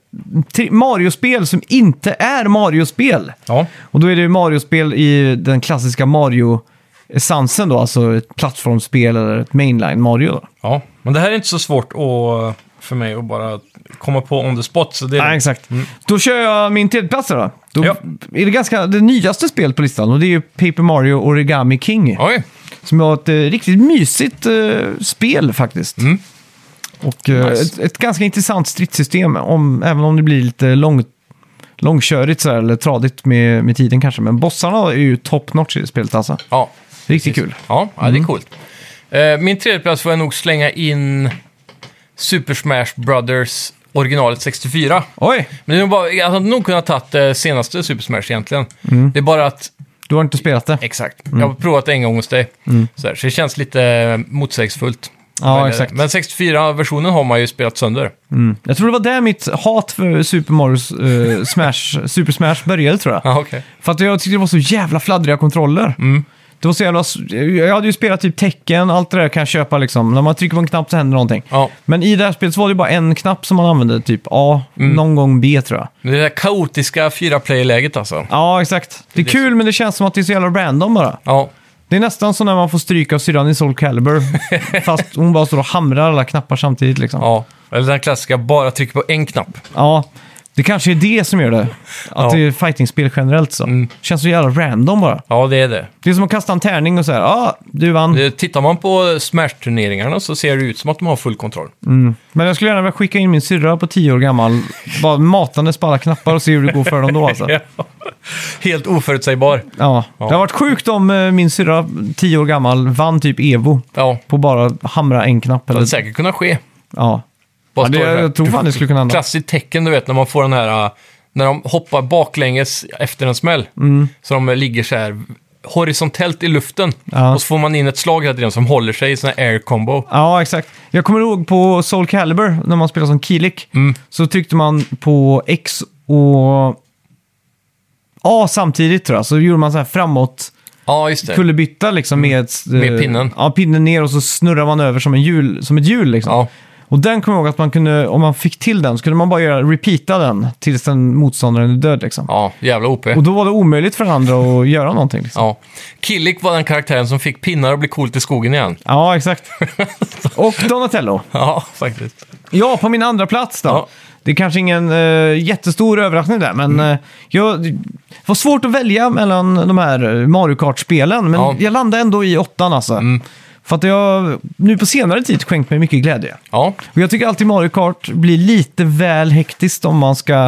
A: tre- Mario-spel som inte är Mario-spel.
B: Ja.
A: Och då är det ju Mario-spel i den klassiska Mario-essensen då, alltså ett plattformsspel eller ett mainline Mario. Då.
B: ja, men det här är inte så svårt att, för mig att bara komma på on the spot. Så det
A: Nej,
B: är...
A: exakt. Då kör jag min tredjeplats då. då
B: Mm. Ja.
A: är det ganska det nyaste spelet på listan och det är ju Paper Mario Origami King.
B: Oj,
A: Som var ett eh, riktigt mysigt eh, spel faktiskt. Och eh,
B: Mm. Nice.
A: ett, ett ganska intressant stridssystem, om, även om det blir lite lång, långkörigt så här, eller tradigt med, med tiden kanske. Men bossarna är ju top notch i det spelet alltså.
B: ja.
A: Riktigt
B: Precis.
A: kul.
B: Ja, ja det är Mm. coolt. Eh, min tredje plats får jag nog slänga in Super Smash Brothers originalet 64.
A: Oj,
B: Men det är nog bara, jag hade nog kunnat tagit det senaste Super Smash egentligen. Det är bara att,
A: du har inte spelat det?
B: Mm. exakt, Mm. jag har provat det en gång hos dig. Sådär, så det känns lite eh, motsägelsefullt.
A: Ja,
B: Men, eh,
A: exakt.
B: Men 64-versionen har man ju spelat sönder.
A: Mm. Jag tror det var där mitt hat för Super Mario eh, Smash, Super Smash började tror jag.
B: Ja, okej.
A: För att jag tyckte det var så jävla fladdriga kontroller. Det var så jävla... Jag hade ju spelat typ tecken, allt det där kan jag köpa liksom. När man trycker på en knapp så händer någonting.
B: Ja,
A: Men i det här spelet så var det bara en knapp som man använde, typ A, någon gång B tror jag.
B: men det där kaotiska fyra player-läget alltså.
A: Ja, exakt. Det är kul men det känns som att det är så jävla random bara.
B: Ja,
A: Det är nästan som när man får stryk av syrran i Soul Calibur. fast hon bara står och hamrar alla knappar samtidigt liksom. Ja.
B: ja. Eller den klassiska, bara trycka på en knapp.
A: Det kanske är det som gör det.
B: Ja.
A: Att det är fightingspel generellt så. Känns så jävla random bara.
B: Ja, det är det.
A: Det är som att kasta en tärning och säga ja, ah, du vann.
B: Eh, Tittar man på Smash-turneringarna så ser det ut som att de har full kontroll.
A: Men jag skulle gärna vilja skicka in min syrra på 10 år gammal, bara matandes på alla knappar och se hur det går för dem då alltså.
B: Helt oförutsägbar.
A: Ja. Det har varit sjukt om eh, min syrra, 10 år gammal, vann typ Evo
B: Ja,
A: på bara hamra en knapp.
B: det
A: Eller,
B: hade säkert kunnat ske.
A: ja.
B: Bara
A: Ja, det,
B: står där.
A: jag tror fan det skulle kunna hända.
B: Klassiskt tecken, du vet, när man får den här... äh, När de hoppar baklänges efter en smäll.
A: Mm.
B: Så de ligger så här horisontellt i luften.
A: Ja.
B: Och så får man in ett slag hela tiden som håller sig i sån här air combo.
A: Ja, exakt. Jag kommer ihåg på Soul Calibur, när man spelade som Kilik,
B: Mm.
A: så tryckte man på X och A samtidigt tror jag. Så gjorde man så här framåt.
B: Ja, just det.
A: kullerbytta liksom med... eh,
B: Mm. Med pinnen.
A: Ja, pinnen ner och så snurrar man över som, en hjul, som ett hjul liksom.
B: Ja.
A: Och den kommer jag ihåg att man kunde, om man fick till den, så kunde man bara göra, repeata den tills den motståndaren är död liksom.
B: ja, jävla OP.
A: Och då var det omöjligt för den andra att göra någonting liksom.
B: Ja. Killik var den karaktären som fick pinnar att bli coolt i skogen igen.
A: Ja, exakt. Och Donatello.
B: Ja, faktiskt.
A: Ja, på min andra plats då.
B: Ja.
A: Det är kanske ingen eh, jättestor överraskning där, men
B: Mm.
A: eh, jag, det var svårt att välja mellan de här eh, Mario Kart-spelen, men
B: Ja. Mm.
A: jag landade ändå i åttan alltså. För att jag nu på senare tid skänkt mig mycket glädje.
B: Ja,
A: Och jag tycker alltid Mario Kart blir lite väl hektiskt om man ska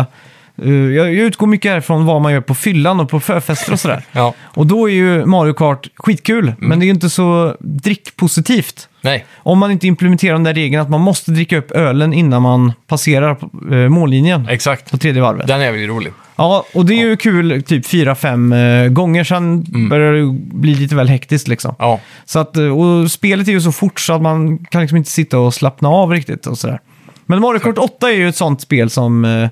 A: eh, jag, jag utgår mycket härifrån vad man gör på fyllan och på förfester och sådär.
B: Ja,
A: Och då är ju Mario Kart skitkul, men det är ju inte så drickpositivt.
B: nej.
A: Om man inte implementerar den där regeln att man måste dricka upp ölen innan man passerar eh, mållinjen
B: Exakt.
A: på tredje varvet.
B: Den är väl rolig.
A: Ja, och det är ju kul typ fyra, fem eh, gånger, sen börjar det ju bli lite väl hektiskt liksom.
B: Ja,
A: Så att, eh, och spelet är ju så fort så att man kan liksom inte sitta och slappna av riktigt och sådär. Men Mario Kart 8 är ju ett sånt spel som, eh,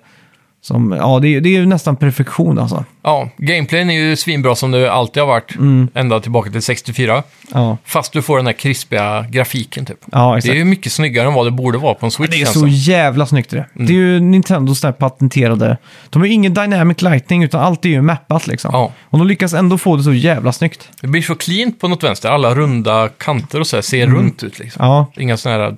A: som ja det är, det är ju nästan perfektion alltså.
B: ja. gameplayen är ju svinbra som det alltid har varit.
A: Mm.
B: Ända tillbaka till 64.
A: Ja,
B: Fast du får den här krispiga grafiken typ.
A: ja
B: Det är
A: exakt.
B: ju alltså. mycket snyggare än vad det borde vara på en Switch.
A: Det är
B: känns
A: så
B: det.
A: jävla snyggt det.
B: Mm.
A: Det är ju Nintendos där patenterade. De har ju ingen dynamic lighting utan allt är ju mappat liksom.
B: Ja.
A: Och de lyckas ändå få det så jävla snyggt.
B: det blir så cleant på något vänster. Alla runda kanter och så här ser runt ut liksom.
A: Mm. Ja,
B: Inga sådana här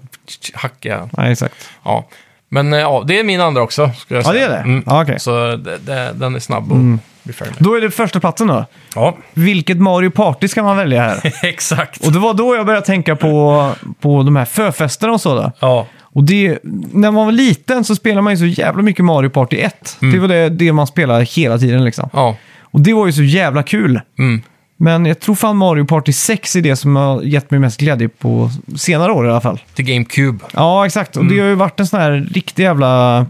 B: hackiga...
A: ja exakt.
B: Ja. Men eh, ja, det är min andra också. Skulle jag
A: Ja,
B: säga. Mm.
A: det är det? Ja, okej. Mm.
B: Så det, det, den är snabb och blir färdig med.
A: Då är det första platsen då.
B: Ja,
A: Vilket Mario Party ska man välja här?
B: exakt.
A: Och det var då jag började tänka på, på de här förfesterna och så. Där.
B: Ja,
A: Och det, när man var liten så spelade man ju så jävla mycket Mario Party 1.
B: Mm.
A: Det var det, det man spelade hela tiden liksom.
B: ja.
A: Och det var ju så jävla kul.
B: Mm.
A: Men jag tror fan Mario Party 6 är det som har gett mig mest glädje på senare år i alla fall.
B: till GameCube.
A: Ja, exakt. Och det
B: Mm.
A: har ju varit en sån här riktig jävla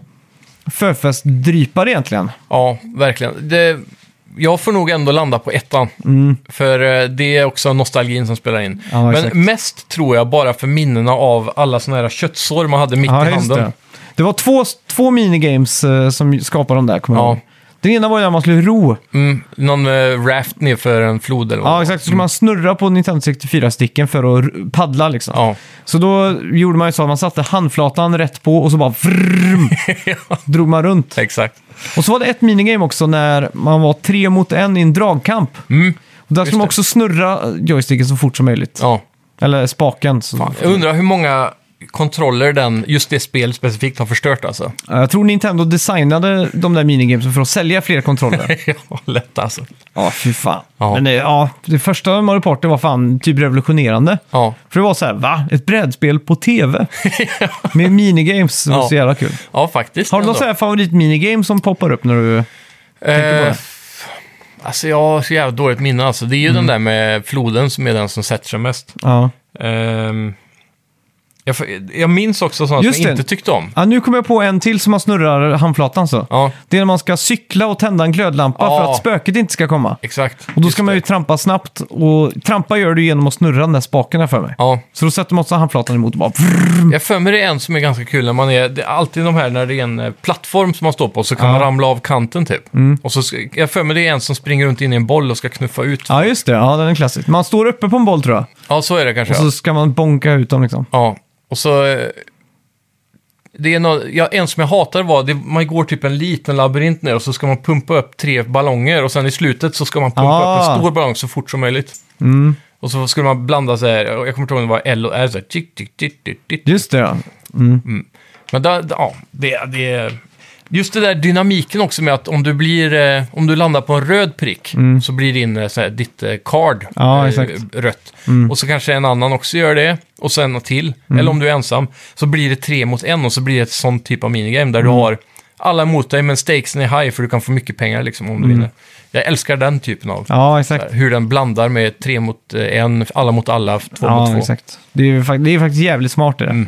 A: förfestdrypare egentligen.
B: Ja, verkligen. Det, jag får nog ändå landa på ettan. För eh, det är också nostalgin som spelar in.
A: Mm. Ja, exakt.
B: Men mest tror jag bara för minnena av alla såna här köttsår man hade mitt i
A: just
B: handen.
A: Det. det var två, två minigames eh, som skapade de där, kommer jag
B: Ja.
A: ihåg. Den ena var ju när man skulle ro.
B: Mm, någon eh, raft nerför en flod eller vad det
A: Ja,
B: var.
A: exakt. Så skulle man snurra på Nintendo 64-sticken för att r- paddla liksom.
B: Ja,
A: Så då gjorde man ju så att man satte handflatan rätt på och så bara vrrm, drog man runt.
B: exakt.
A: Och så var det ett minigame också när man var tre mot en i en dragkamp. Och där skulle man
B: det.
A: också snurra joysticken så fort som möjligt.
B: Ja.
A: Eller spaken. Så.
B: Jag undrar hur många kontroller den, just det spelet specifikt har förstört alltså.
A: Ja, Jag tror Nintendo designade de där minigamesen för att sälja fler kontroller.
B: ja, lätt alltså.
A: ja, fy fan.
B: Ja.
A: Men det, ja, det första Mario Party var fan typ revolutionerande.
B: Ja.
A: För det var så här, va? Ett brädspel på tv? Med minigames, det var
B: Ja.
A: så jävla kul.
B: ja, faktiskt.
A: Har du någon
B: ändå.
A: sån här favoritminigame som poppar upp när du... tänker på
B: Eh,
A: det?
B: f- alltså jag har så jävla dåligt minne alltså. Det är ju
A: Mm.
B: den där med floden som är den som sätter sig mest.
A: Ja.
B: Ehm, jag, får- jag minns också sånt
A: Just
B: som jag
A: det.
B: inte tyckte om.
A: ja, nu kommer jag på en till som man snurrar handflatan så.
B: Ja,
A: Det är när man ska cykla och tända en glödlampa
B: Ja.
A: för att spöket inte ska komma.
B: exakt.
A: Och då
B: Just
A: ska man ju
B: det.
A: trampa snabbt och trampa gör du genom att snurra den där spaken här för mig.
B: Ja,
A: Så då sätter man också handflatan emot och bara...
B: jag för mig det är en som är ganska kul när man är, det är alltid de här när det är en eh, plattform som man står på så kan
A: Ja. Mm.
B: man ramla av kanten typ. Och så, ska- jag för mig det är en som springer runt in i en boll och ska knuffa ut.
A: Ja, just det. Ja, den är klassisk. Man står uppe på en boll tror jag.
B: Ja, så är det kanske.
A: Och så ska man bonka ut dem liksom.
B: Ja, och så... eh, Det är nå ja, en som jag hatar var, det, man går typ en liten labyrint ner och så ska man pumpa upp tre ballonger och sen i slutet så ska man pumpa upp
A: Ah.
B: en stor ballong så fort som möjligt. Och så skulle man blanda så här, och jag kommer inte ihåg om det var L och R, så här, tick, tick, tick, tick, tick.
A: Just det, ja.
B: Men där, där- ja, det, det... Just det där dynamiken också med att om du, blir, eh, om du landar på en röd prick så blir din, eh, så här, ditt eh, card
A: Mm. Ja,
B: eh,
A: exakt. Mm.
B: rött. Och så kanske en annan också gör det och så en till. Eller om du är ensam så blir det tre mot en och så blir det ett sånt typ av minigame där
A: Mm.
B: du har alla emot dig men stakesen är high för du kan få mycket pengar liksom om du vinner. Jag älskar den typen av,
A: Mm.
B: eh,
A: Ja, exakt.
B: hur den blandar med tre mot eh, en, alla mot alla, två mot
A: Ja,
B: två. Mm.
A: exakt. Det är, ju fak- det är faktiskt jävligt smart det där.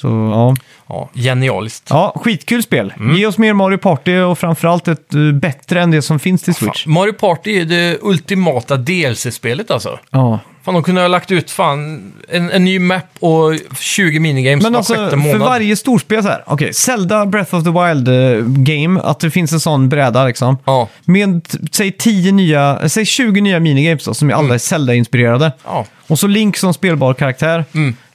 A: Så, ja.
B: Ja, genialiskt.
A: ja, skitkul spel.
B: Mm.
A: Ge oss mer Mario Party och framförallt ett eh, bättre än det som finns till Switch.
B: Fan, Mario Party är det ultimata DLC-spelet alltså.
A: Ja.
B: Fan, de kunde ha lagt ut fan en, en ny map och 20 minigames
A: Men
B: var
A: alltså,
B: sjätte
A: för
B: månad.
A: varje storspel så här. Okej, Zelda Breath of the Wild-game, att det finns en sån bräda liksom.
B: Ja,
A: Med, t- säg, 10 nya, eh, säg 20 nya minigames då, som är alla
B: Mm.
A: är Zelda-inspirerade.
B: ja,
A: Och så Link som spelbar karaktär.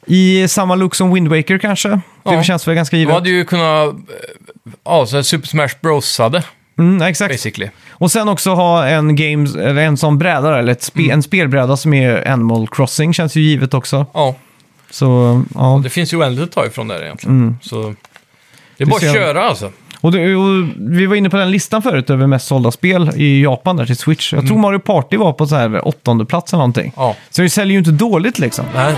A: I samma look som Wind Waker kanske. Det
B: Mm. Ja.
A: känns väl ganska
B: då
A: givet.
B: hade ju kunnat... eh, Ja, så här Super Smash Bros-ade,
A: Mm, exakt.
B: basically.
A: Och sen också ha en games, eller en sån bräda, då, eller ett
B: Mm.
A: spe, en spelbräda som är Animal Crossing, känns ju givet också.
B: Ja,
A: Så, ja.
B: det finns ju oändligt att ta ifrån där egentligen. Så det är bara
A: Mm. ser-
B: att köra alltså.
A: Och, det, och vi var inne på den listan förut över mest sålda spel i Japan där till Switch. Jag tror Mario Party var på så här åttonde plats eller någonting.
B: Mm. Ja.
A: Så det säljer ju inte dåligt liksom.
B: Nej.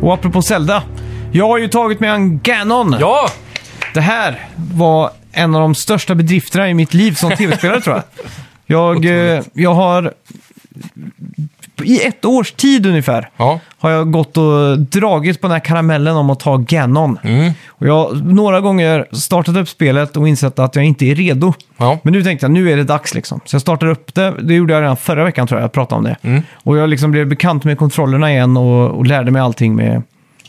A: Och apropå Zelda. Jag har ju tagit mig an Ganon.
B: Ja!
A: Det här var en av de största bedrifterna i mitt liv som tv-spelare tror jag. Jag, eh, jag har i ett års tid ungefär
B: Ja,
A: har jag gått och dragit på den här karamellen om att ta Ganon.
B: Mm.
A: Och jag har några gånger startat upp spelet och insett att jag inte är redo.
B: ja.
A: Men nu tänkte jag, nu är det dags liksom. Så jag startade upp det, det gjorde jag redan förra veckan tror jag, jag pratade om det.
B: Mm.
A: Och jag liksom blev bekant med kontrollerna igen och, och lärde mig allting med,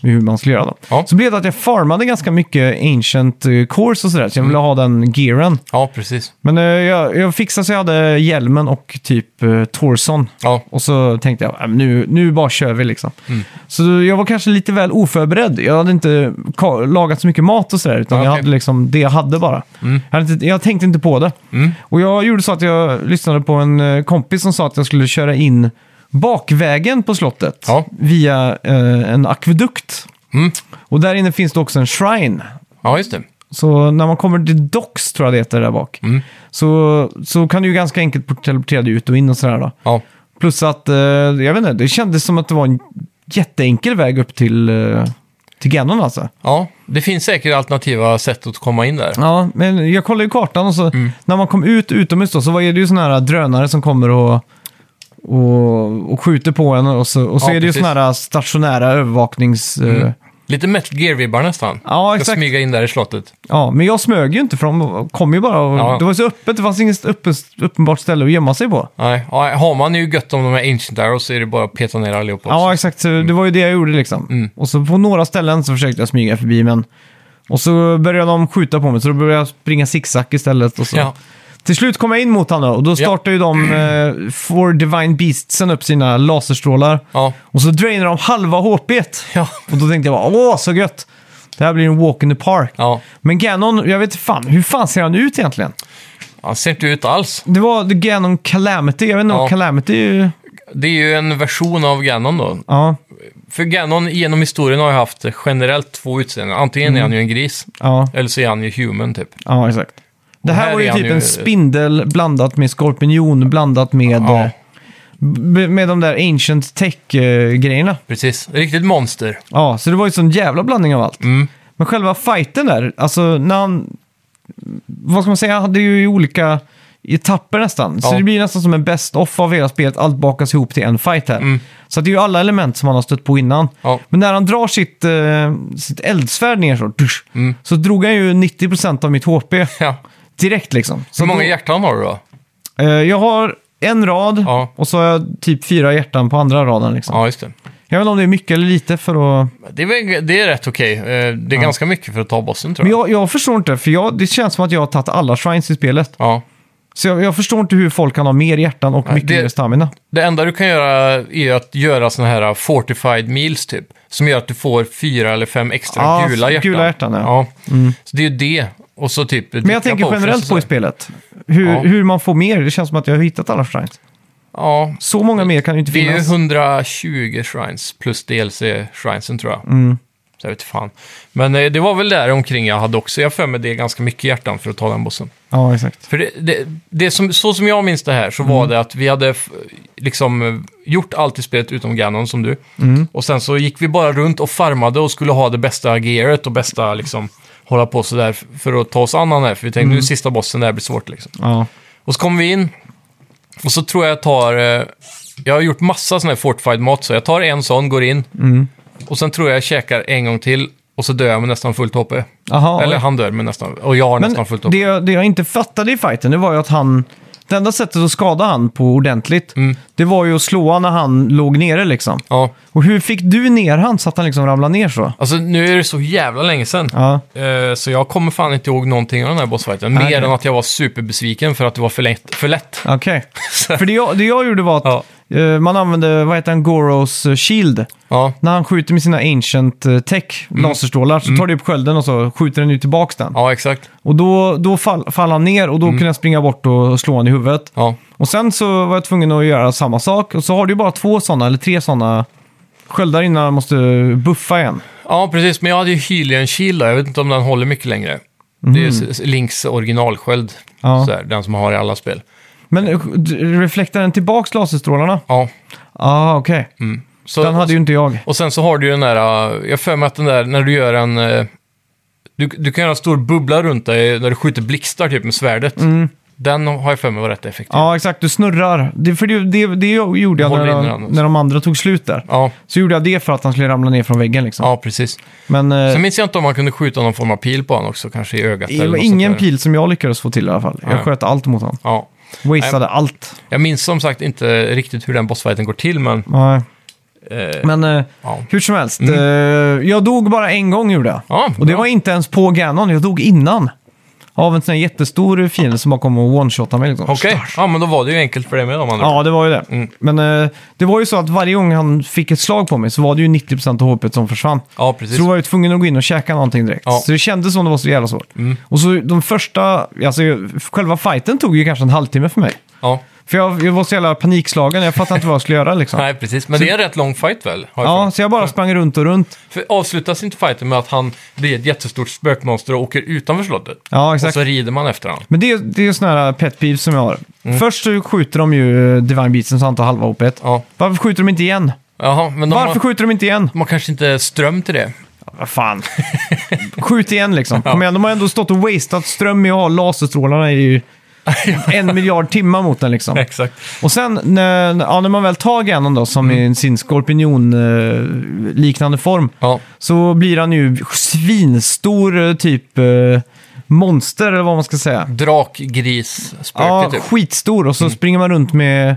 A: med hur man skulle göra. Då.
B: Ja.
A: Så blev det att jag farmade ganska mycket ancient eh, cores och sådär, så jag
B: Mm.
A: ville ha den gearen.
B: ja precis.
A: Men eh, jag, jag fixade så jag hade hjälmen och typ eh, torson.
B: Ja.
A: Och så tänkte jag, "Äh, men nu, nu bara kör vi liksom.
B: Mm.
A: Så jag var kanske lite väl oförberedd. Jag hade inte ka- lagat så mycket mat och sådär, utan
B: Ja,
A: jag
B: okej. Mm.
A: hade liksom det jag hade bara. Jag, hade inte, jag tänkte inte på det. Och jag gjorde så att jag lyssnade på en eh, kompis som sa att jag skulle köra in bakvägen på slottet
B: Ja.
A: via eh, en akvedukt. Och där inne finns det också en shrine.
B: Mm. Ja, just det.
A: Så när man kommer till Docks, tror jag det heter där
B: Mm.
A: bak, så, så kan du ju ganska enkelt teleportera dig ut och in och sådär då.
B: Ja,
A: Plus att, eh, jag vet inte, det kändes som att det var en jätteenkel väg upp till, eh, till Ganon alltså.
B: ja. det finns säkert alternativa sätt att komma in där.
A: Ja, men jag kollade ju kartan och så
B: Mm.
A: när man kom ut utomhus då, så var det ju sådana här äh, drönare som kommer och, och, och skjuter på en och så, och så
B: Ja,
A: är det ju
B: precis. Mm.
A: sådana här äh, stationära övervaknings... eh,
B: Lite Metal Gear-vibbar nästan.
A: Ja,
B: Ska
A: exakt.
B: smyga in där i slottet.
A: Ja, men jag smög ju inte för de kom ju bara och
B: Ja.
A: det var så öppet, det fanns inget uppe, uppenbart ställe att gömma sig på.
B: Nej, ja, har man ju gött om de här Ancient Arrows så är det bara att peta ner allihopa. också.
A: Ja, exakt. Så Det var ju det jag gjorde liksom.
B: Mm.
A: Och så på några ställen så försökte jag smyga förbi, men... Och så började de skjuta på mig, så då började jag springa zigzag istället. Och så.
B: Ja.
A: Till slut kom jag in mot honom och då startade ju de eh, Four Divine Beastsen upp sina laserstrålar.
B: Ja.
A: Och så drainar de halva HP.
B: Ja.
A: Och då tänkte jag bara, åh så gött! Det här blir en walk in the park.
B: Ja.
A: Men Ganon, jag vet inte fan, hur fan ser han ut egentligen?
B: Han ser inte ut alls.
A: Det var The Ganon Calamity, jag vet inte om
B: Ja.
A: Calamity...
B: Det är ju en version av Ganon då.
A: Ja,
B: För Ganon genom historien har ju haft generellt två utseenden. Antingen är han ju en
A: Mm.
B: gris,
A: ja.
B: eller så är han ju human typ.
A: Ja, exakt. Det här,
B: här
A: var ju
B: är han
A: typ
B: ju-
A: en spindel blandat med skorpion, blandat med,
B: Ja.
A: eh, b- med de där ancient tech-grejerna.
B: Precis. Riktigt monster.
A: Ja, så det var ju sån jävla blandning av allt.
B: Mm.
A: Men själva fighten där, alltså när han... Vad ska man säga? Han hade ju olika etapper nästan. Så
B: Ja.
A: det blir nästan som en best-off av hela spelet. Allt bakas ihop till en fight här. Så att det är ju alla element som han har stött på innan.
B: Mm. Ja.
A: Men när han drar sitt, eh, sitt eldsvärd ner så, dusch,
B: Mm.
A: så drog han ju 90% av mitt HP.
B: Ja.
A: Direkt liksom. Så
B: Hur många
A: då-
B: hjärtan har du då?
A: Eh, jag har en rad
B: Ja.
A: och så har jag typ fyra hjärtan på andra raden. Liksom.
B: Ja, just det.
A: Jag vet inte om det är mycket eller lite för att...
B: Det är, väl- det är rätt okej. Eh, Det är ganska mycket för att ta bossen tror
A: Men
B: jag.
A: jag, jag förstår inte, för jag, det känns som att jag har tagit alla shrines i spelet.
B: Ja.
A: Så jag, jag förstår inte hur folk kan ha mer hjärtan och mycket
B: det-
A: mer stamina.
B: Det enda du kan göra är att göra såna här fortified meals typ. Som gör att du får fyra eller fem extra
A: Ja,
B: gula hjärtan.
A: gula hjärtan, ja. Mm.
B: Så det är ju det. Och så typ...
A: Men jag tänker generellt på i spelet. Hur,
B: Ja.
A: hur man får mer, det känns som att jag har hittat alla shrines.
B: Ja,
A: Så många mer kan ju inte
B: det är ju
A: finnas.
B: 120 shrines plus DLC-shrinesen tror jag.
A: Mm.
B: Så jag vet fan. Men eh, det var väl där omkring jag hade också. Jag har för mig det är ganska mycket hjärtan för att ta den bossen.
A: Ja, exakt.
B: För det, det, det som, så som jag minns det här så
A: Mm.
B: var det att vi hade f- liksom eh, gjort allt i spelet utom Ganon som du.
A: Mm.
B: Och sen så gick vi bara runt och farmade och skulle ha det bästa gearet och bästa liksom hålla på sådär f- för att ta oss an han här. För vi tänkte
A: Mm.
B: nu sista bossen, det här blir svårt liksom.
A: Ja.
B: Och så kommer vi in och så tror jag jag tar... eh, Jag har gjort massa sådana här fortified-mat så jag tar en sån, går in
A: Mm.
B: och sen tror jag jag käkar en gång till och så dör jag med nästan fullt HP.
A: Aha,
B: Eller han dör med nästan... Och jag har
A: Men
B: nästan fullt
A: det
B: HP.
A: jag, det jag inte fattade i fighten, det var ju att han... Det enda sättet att skada han på ordentligt,
B: Mm.
A: det var ju att slå han när han låg nere liksom.
B: Ja.
A: Och hur fick du ner han så att han liksom ramlade ner så?
B: Alltså nu är det så jävla länge sedan.
A: Ja,
B: Eh, Så jag kommer fan inte ihåg någonting av den här bossfighten.
A: Nej,
B: Mer
A: nej.
B: än att jag var superbesviken för att det var för lätt. För lätt.
A: okej. För det jag, det jag gjorde var att eh, man använde, vad heter han, Goros eh, shield.
B: Ja,
A: När han skjuter med sina ancient eh, tech, laserstrålar, så tar det upp skölden och så skjuter den ut tillbaks den.
B: Mm. ja Mm. exakt.
A: Och då, då fall, faller han ner och då kunde jag springa bort och slå honom i huvudet.
B: Ja.
A: Och sen så var jag tvungen att göra samma sak. Och så har du ju bara två sådana, eller tre sådana sköldar innan jag måste buffa igen.
B: ja, precis. Men jag hade ju Hylian Shield då. Jag vet inte om den håller mycket längre. Det är ju S- Links originalsköld.
A: Mm. Ja.
B: Sådär, den som man har i alla spel.
A: Men eh, reflektar den tillbaks laserstrålarna?
B: Ja, Mm.
A: Ja, ah, okej.
B: Så,
A: Den hade ju inte jag.
B: Och sen så har du ju den där, eh, jag har för mig att den där, när du gör en... eh, Du, du kan göra en stor bubbla runt dig när du skjuter blixtar typ med svärdet.
A: Mm.
B: Den har jag för mig var rätt effektiv.
A: Ja, exakt. Du snurrar. Det, för det, det, det gjorde jag
B: Håller
A: när,
B: in
A: de-
B: den, alltså.
A: när de andra tog slut där.
B: Ja,
A: Så gjorde jag det för att han skulle ramla ner från väggen liksom.
B: ja precis.
A: Men eh,
B: Sen minns jag inte om man kunde skjuta någon form av pil på honom också, kanske i ögat
A: det
B: eller
A: var
B: något
A: ingen
B: sånt där.
A: pil som jag lyckades få till i alla fall. Jag
B: Nej.
A: sköt allt mot honom.
B: Ja.
A: Wasteade allt.
B: Jag minns som sagt inte riktigt hur den bossfighten går till, men...
A: Nej.
B: Eh,
A: Men eh,
B: ja.
A: hur som helst, eh, jag dog bara en gång gjorde jag.
B: Ja,
A: Och det
B: bra.
A: var inte ens på Ganon, jag dog innan. Av en sån här jättestor fiende som bara kom och one-shotade mig. Liksom.
B: Okej, Mm. ja men då var det ju enkelt för dig med om man
A: Ja, det var ju det. Men eh, det var ju så att varje gång han fick ett slag på mig så var det ju 90% av HP som försvann.
B: ja, precis.
A: Så då var jag ju tvungen att gå in och käka någonting direkt.
B: Ja. Mm.
A: Så det kändes som det var så jävla svårt. Och så de första, alltså själva fighten tog ju kanske en halvtimme för mig.
B: Ja.
A: För jag, jag var så jävla panikslagen, jag fattade inte vad jag skulle göra liksom.
B: Nej, precis. Men det är en rätt lång fight väl? Har jag för mig.
A: Ja, så jag bara sprang runt och runt.
B: För avslutas inte fighten med att han blir ett jättestort spökmonster och åker utanför slottet?
A: Ja, exakt.
B: Och så rider man efter honom.
A: Men det, är- det är ju sådana här pet peeves som jag har.
B: Mm.
A: Först så skjuter de ju eh, Divine Beatsen så han tar halva HP.
B: Ja.
A: Varför skjuter de inte igen?
B: Jaha, men de
A: Varför
B: har,
A: skjuter de inte igen?
B: de har kanske inte ström till det.
A: Vad fan. Skjut igen liksom. Kom igen, de har ändå stått och wasteat ström i att ha laserstrålarna i en miljard timmar mot den liksom.
B: Exakt.
A: Och sen när, ja, när man väl tar Ganon då, som
B: Mm.
A: i sin skorpion-liknande form,
B: Ja,
A: så blir han ju svinstor eh, typ eh, monster eller vad man ska säga.
B: drakgris-spöke
A: Ja,
B: typ.
A: skitstor och så springer man runt med,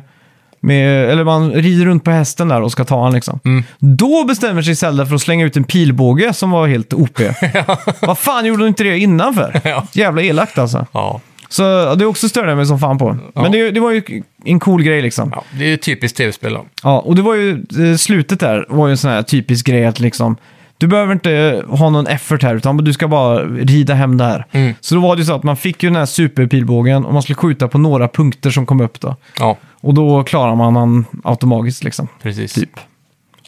A: med... Eller man rider runt på hästen där och ska ta han liksom.
B: Mm.
A: Då bestämmer sig Zelda för att slänga ut en pilbåge som var helt OP. Vad fan gjorde hon inte det innan för?
B: Ja.
A: Jävla elakt alltså.
B: Ja.
A: Så ja, det också störde jag mig som fan på. Men det, det var ju en cool grej liksom.
B: ja, det är ju typiskt tv-spel då.
A: Ja, och det var ju, eh, slutet där var ju en sån här typisk grej att liksom, du behöver inte ha någon effort här utan du ska bara rida hem det här.
B: Mm.
A: Så då var det ju så att man fick ju den här superpilbågen och man skulle skjuta på några punkter som kom upp då.
B: Ja,
A: Och då klarar man han automatiskt liksom.
B: precis.
A: Typ.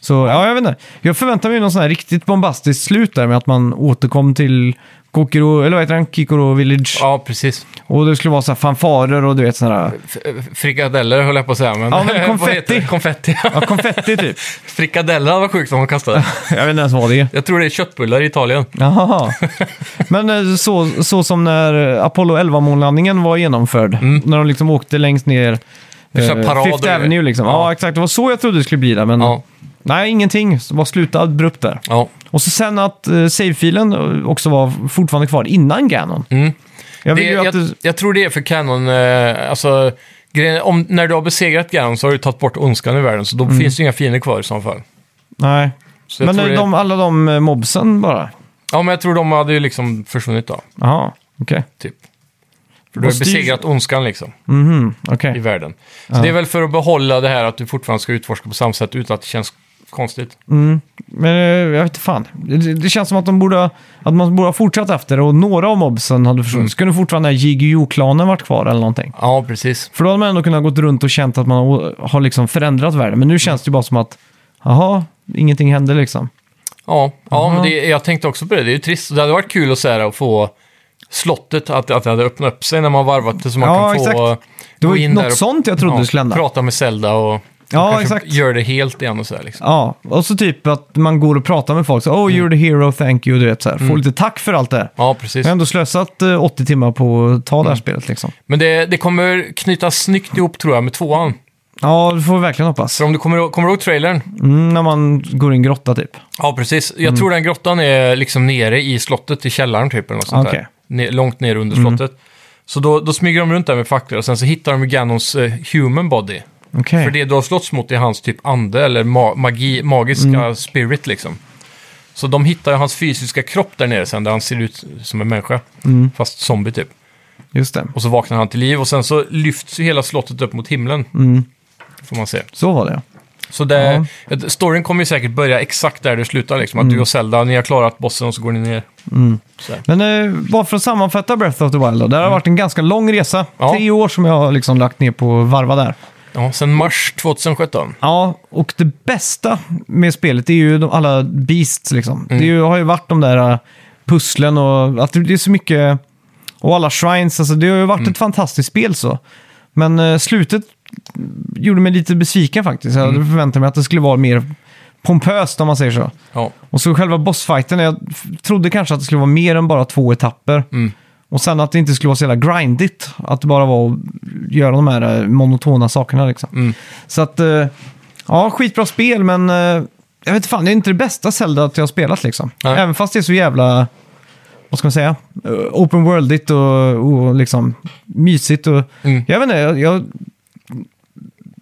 A: Så ja, jag vet inte. Jag förväntar mig någon sån här riktigt bombastiskt slut där med att man återkom till Kokoro, eller vad heter han, Kikoro Village.
B: Ja, precis.
A: Och det skulle vara så här fanfarer och du vet sådana här,
B: F- eh, frikadeller höll jag på att säga, men...
A: Ja, men
B: vad heter det?
A: konfetti.
B: konfetti.
A: ja, konfetti typ.
B: Frikadeller var sjukt om de kastade.
A: jag vet inte ens vad det är.
B: Jag tror det är köttbullar i Italien.
A: Mm. Jaha. Men eh, så, så som när eh, Apollo 11-månlandningen var genomförd. När de liksom åkte längst ner.
B: är så här
A: eh,
B: parader.
A: Fifth Avenue liksom. Ja.
B: Ja.
A: exakt. Det var så jag trodde det skulle bli där, men
B: Ja.
A: nej, ingenting. Det var slutade abrupt där.
B: Ja.
A: Och så sen att eh, save-filen eh, också var fortfarande kvar innan Ganon.
B: Mm.
A: Jag vill
B: Det,
A: ju att
B: jag,
A: det...
B: jag tror det är för Canon, eh, alltså, grejen, om, när du har besegrat Ganon så har du tagit bort ondskan i världen, så då finns det inga fiender kvar i så fall.
A: Nej.
B: Så jag
A: Mm. Men
B: tror
A: eh,
B: det,
A: de, alla de eh, mobsen bara?
B: Ja, men jag tror de hade ju liksom försvunnit då,
A: Jaha, okej.
B: typ. För du har
A: styrs-
B: besegrat Mm. ondskan liksom,
A: Mhm, okej.
B: i världen. Så det är väl för att behålla det här att du fortfarande ska utforska på samma sätt utan att det känns konstigt.
A: Mm. Men eh, jag vet inte fan. Det, det känns som att, de borde, att man borde ha fortsatt efter det och några av mobsen hade
B: Mm.
A: försvunnit. Så kunde fortfarande JGO-klanen varit kvar eller någonting.
B: Ja, precis.
A: För då hade man ändå kunnat gått runt och känt att man har- har liksom förändrat världen. Men nu känns det ju bara som att, jaha, ingenting hände liksom.
B: Ja, ja
A: Aha.
B: men det, jag tänkte också på det. Det är ju trist. Det hade varit kul att, så här, att få slottet, att, att det hade öppnat upp sig när man varvat det så man
A: Ja,
B: kan få...
A: exakt. Det
B: gå
A: var ju
B: in
A: något
B: där och-
A: sånt jag trodde
B: Ja,
A: skulle hända.
B: Prata med Zelda och, och
A: Ja,
B: kanske
A: exakt.
B: gör det helt igen och sådär liksom.
A: Ja, och så typ att man går och pratar med folk. Så, oh, you're the hero, thank you, du vet så här. Får
B: Mm.
A: lite tack för allt det här.
B: Ja, precis.
A: Jag har ändå slösat eh, 80 timmar på att ta det här
B: Mm.
A: spelet liksom.
B: Men det, det kommer knytas snyggt ihop tror jag med tvåan.
A: Ja, det får vi verkligen hoppas.
B: För om du kommer, ihåg- kommer du ihåg trailern?
A: Mm, när man går i en grotta typ.
B: Ja, precis. Jag tror den grottan är liksom nere i slottet, i källaren typ eller något sånt
A: Okej. Mm.
B: där. Ne- långt ner under slottet. Så då, då smyger de runt där med facklor och sen så hittar de Ganons eh, human body.
A: Okej.
B: För det du har slåtts mot är hans typ ande eller ma- magi, magiska
A: Mm.
B: spirit liksom. Så de hittar ju hans fysiska kropp där nere sen, där han ser ut som en människa.
A: Mm.
B: Fast zombie typ.
A: Just det.
B: Och så vaknar han till liv och sen så lyfts ju hela slottet upp mot himlen. Får man se.
A: Så var det
B: Så det,
A: Mm. Ja. Mm.
B: ett- storyn kommer ju säkert börja exakt där det slutar liksom. Att du och Zelda, ni har klarat bossen och så går ni ner.
A: Men eh, bara för att sammanfatta Breath of the Wild då. Det här har varit en ganska lång resa.
B: Mm. Ja.
A: Tre år som jag har liksom lagt ner på att varva där.
B: Ja, sen mars 2017.
A: Ja, och det bästa med spelet är ju de, alla beasts liksom. Det är ju, har ju varit de där eh, pusslen och att det det är så mycket... Och alla shrines, alltså det har ju varit ett fantastiskt spel så. äh, Men eh, slutet gjorde mig lite besviken faktiskt. Jag hade förväntat mig att det skulle vara mer pompöst om man säger så.
B: Ja.
A: Och så själva bossfighten, jag f- trodde kanske att det skulle vara mer än bara två etapper. Och sen att det inte skulle vara så jävla grindigt. Att det bara var att göra de här eh, monotona sakerna liksom. Så att, eh, ja, skitbra spel men eh, jag vet fan, det är inte det bästa Zelda att jag har spelat liksom.
B: Nej.
A: Även fast det är så jävla, vad ska man säga, eh, open worldigt och, och liksom mysigt och,
B: Mm.
A: jag vet inte, jag, jag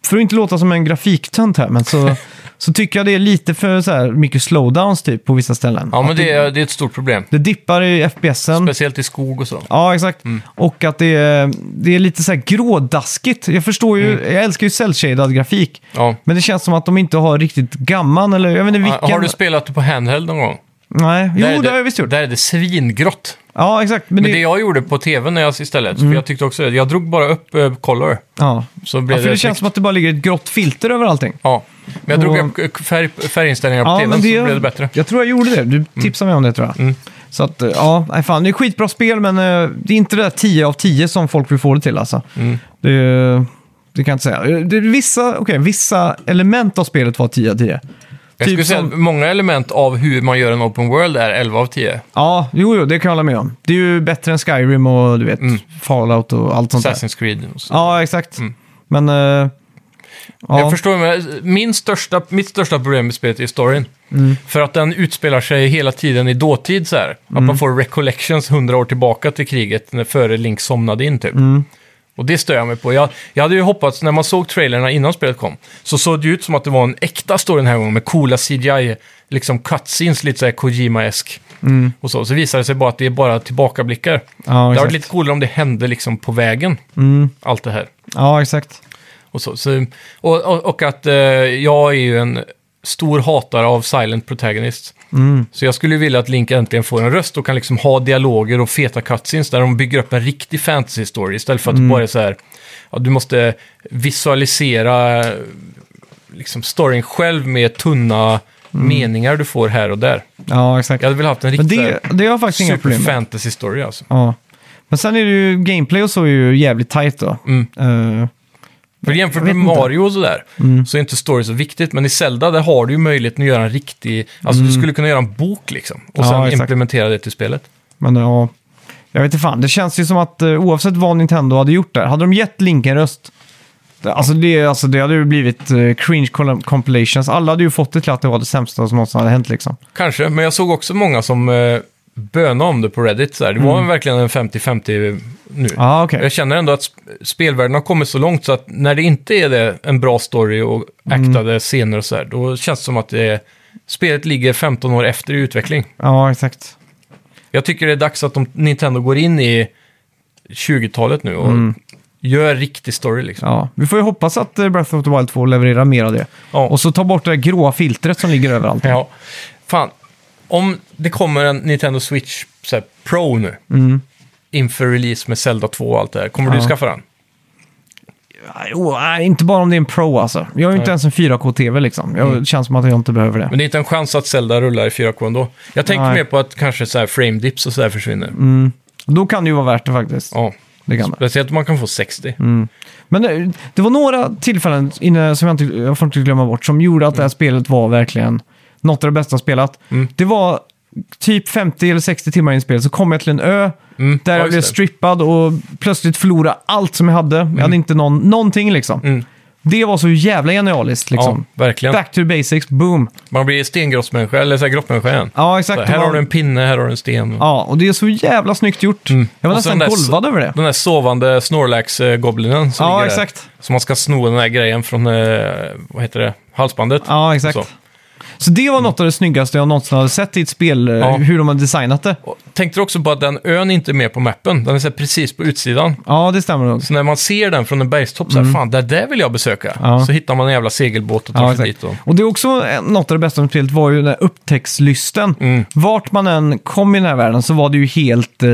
A: för att inte låta som en grafiktönt här, men så, så tycker jag det är lite för så här mycket slowdowns typ på vissa ställen.
B: Ja, men
A: Att
B: det är, det är ett stort problem.
A: det dippar i FPSen.
B: Speciellt i skog och så.
A: Ja, exakt.
B: Mm.
A: Och att det är, det är lite så här grådaskigt. Jag förstår ju,
B: Mm.
A: jag älskar ju cell-shaded grafik.
B: Ja.
A: Men det känns som att de inte har riktigt gamman eller jag vet inte vilken.
B: Har du spelat det på handheld någon gång?
A: Nej, jo
B: Där är
A: det har jag visst gjort.
B: Där är det svingrått.
A: Ja, exakt. Men,
B: Men
A: det, Mm.
B: det jag gjorde på tv när jag istället, för jag tyckte också det, jag drog bara upp eh, color.
A: ja.
B: Så
A: Ja,
B: blev
A: för det
B: det
A: känns
B: text.
A: som att det bara ligger ett grått filter över allting.
B: Ja, men jag drog
A: Och-
B: upp eh, färg, färginställningar på tvn så blev det bättre. Mm.
A: Jag tror jag gjorde det. Du tipsade mig om det tror jag. Så att, eh, ja, nej fan, det är skitbra spel men eh, det är inte det där 10 av 10 som folk vill få det till alltså.
B: Mm.
A: Det, det kan jag inte säga. Eh, Det, vissa, okay, vissa element av spelet var 10 av 10.
B: Jag
A: typ
B: skulle säga att många element av hur man gör en open world är 11 av 10.
A: Ja, jo, jo, det kan jag hålla med om. Det är ju bättre än Skyrim och du vet,
B: Mm.
A: Fallout och allt sånt där.
B: Assassin's Creed och så.
A: Ja, exakt. Men... eh, ja.
B: Mm. Jag förstår, men min största, mitt största problem med spelet är storyn.
A: Mm.
B: För att den utspelar sig hela tiden i dåtid så här. Att
A: Mm.
B: man får recollections hundra år tillbaka till kriget när före Link somnade in typ.
A: Mm.
B: Och det stör jag mig på. Jag, jag hade ju hoppats, när man såg trailerna innan spelet kom, så såg det ju ut som att det var en äkta story den här gången med coola CGI, liksom cutscenes, lite så här Kojima-esk. Och så. så visade det sig bara att det är bara tillbakablickar. det
A: Mm. ja,
B: hade
A: exakt. Mm.
B: varit lite coolare om det hände liksom på vägen, allt det här.
A: ja, exakt.
B: Och, så, så, och, och, och att eh, jag är ju en stor hatare av silent protagonist.
A: Mm.
B: Så jag skulle ju vilja att Link äntligen får en röst och kan liksom ha dialoger och feta cutscenes där de bygger upp en riktig fantasy story istället för att
A: Mm.
B: det bara är så här, ja, du måste visualisera eh, liksom storyn själv med tunna meningar du får här och där.
A: Ja, exakt.
B: Jag hade väl haft en
A: Mm. Men
B: riktig
A: det, det har jag faktiskt inga problem
B: super
A: med.
B: fantasy story alltså.
A: Ja. Men sen är det ju, gameplay och så är ju jävligt tight då.
B: Mm.
A: Eh,
B: För jämfört
A: vet
B: med
A: inte. Mm.
B: Mario och sådär, så är inte story så viktigt. Men i Zelda, där har du ju möjligheten att göra en riktig... Alltså du skulle kunna göra en bok liksom. Och
A: Mm. Ja,
B: sen
A: exakt.
B: implementera det till spelet.
A: men ja, jag vet inte fan. Det känns ju som att eh, oavsett vad Nintendo hade gjort där, hade de gett Link en röst, det- alltså det, alltså det hade ju blivit eh, cringe colum- compilations. Alla hade ju fått det till att det var det sämsta som någonsin hade hänt liksom.
B: Kanske, men jag såg också många som eh, bönade om det på Reddit. Sådär. Det var verkligen en 50-50 nu.
A: Mm. Ja, ah, okej.
B: Jag känner ändå att sp- spelvärlden har kommit så långt så att när det inte är det en bra story och
A: Mm.
B: aktade scener och sådär, då känns det som att det är, spelet ligger 15 år efter i utveckling.
A: Ja, exakt.
B: Jag tycker det är dags att de, Nintendo går in i 20-talet nu och
A: Mm.
B: gör riktig story liksom.
A: Ja. Vi får ju hoppas att eh, Breath of the Wild 2 levererar mer av det.
B: Ja.
A: Och så ta bort det där gråa filtret som ligger överallt.
B: Ja. Fan, om det kommer en Nintendo Switch så här, Pro nu inför release med Zelda 2 och allt det här, kommer du
A: Mm. Ja.
B: skaffa den?
A: Nej, oh, nej, inte bara om det är en pro alltså. Jag har ju inte ens en 4K-TV liksom. Jag det känns som att jag inte behöver det.
B: Mm. Men det är inte en chans att Zelda rullar i 4K ändå. Jag tänker
A: Nej. Mm.
B: mer på att kanske så här frame dips och så här försvinner.
A: Då kan det ju vara värt det faktiskt.
B: Ja.
A: Det kan det.
B: Speciellt om man kan få 60.
A: Mm, Men det, det var några tillfällen innan, som jag, inte, jag får inte glömma bort som gjorde
B: Mm.
A: att det här spelet var verkligen något av det bästa jag spelat. Det var typ 50 eller 60 timmar in i spelet så kom jag till en ö
B: Mm,
A: där
B: ja,
A: jag
B: just
A: blev
B: det.
A: strippad och plötsligt förlorade allt som jag hade. Jag hade inte någon, någonting liksom.
B: Mm.
A: Det var så jävla genialiskt liksom.
B: Ja, verkligen.
A: Back to basics, boom.
B: Man blir stengrottmänniska, eller så här grottmänniska igen.
A: Ja,
B: Så
A: exakt.
B: här, här
A: Det var-
B: har du en pinne, här har du en sten.
A: Ja, och det är så jävla snyggt gjort. Jag var
B: Mm. Och
A: nästan
B: sen dess-
A: golvad över det.
B: Den där sovande Snorlax-goblinen som ligger
A: Ja,
B: där.
A: exakt.
B: Så man ska sno den här grejen från, eh, vad heter det, halsbandet.
A: Ja, exakt.
B: Så.
A: Så. det var något av det snyggaste jag någonsin hade sett i ett spel, eh,
B: Ja.
A: hur de har designat det.
B: Och tänkte du också på att den ön inte är med på mappen? Den är så här precis på utsidan.
A: Ja, det stämmer nog.
B: Så när man ser den från en bergstopp, så här, fan, där, där vill jag besöka.
A: Mm. Ja.
B: Så hittar man en jävla segelbåt och tar
A: Ja,
B: sig
A: exakt.
B: dit. Och...
A: Och det är också eh, något av det bästa med spelet var ju den här upptäcktslysten.
B: Mm.
A: Vart man än kom i den här världen så var det ju helt eh,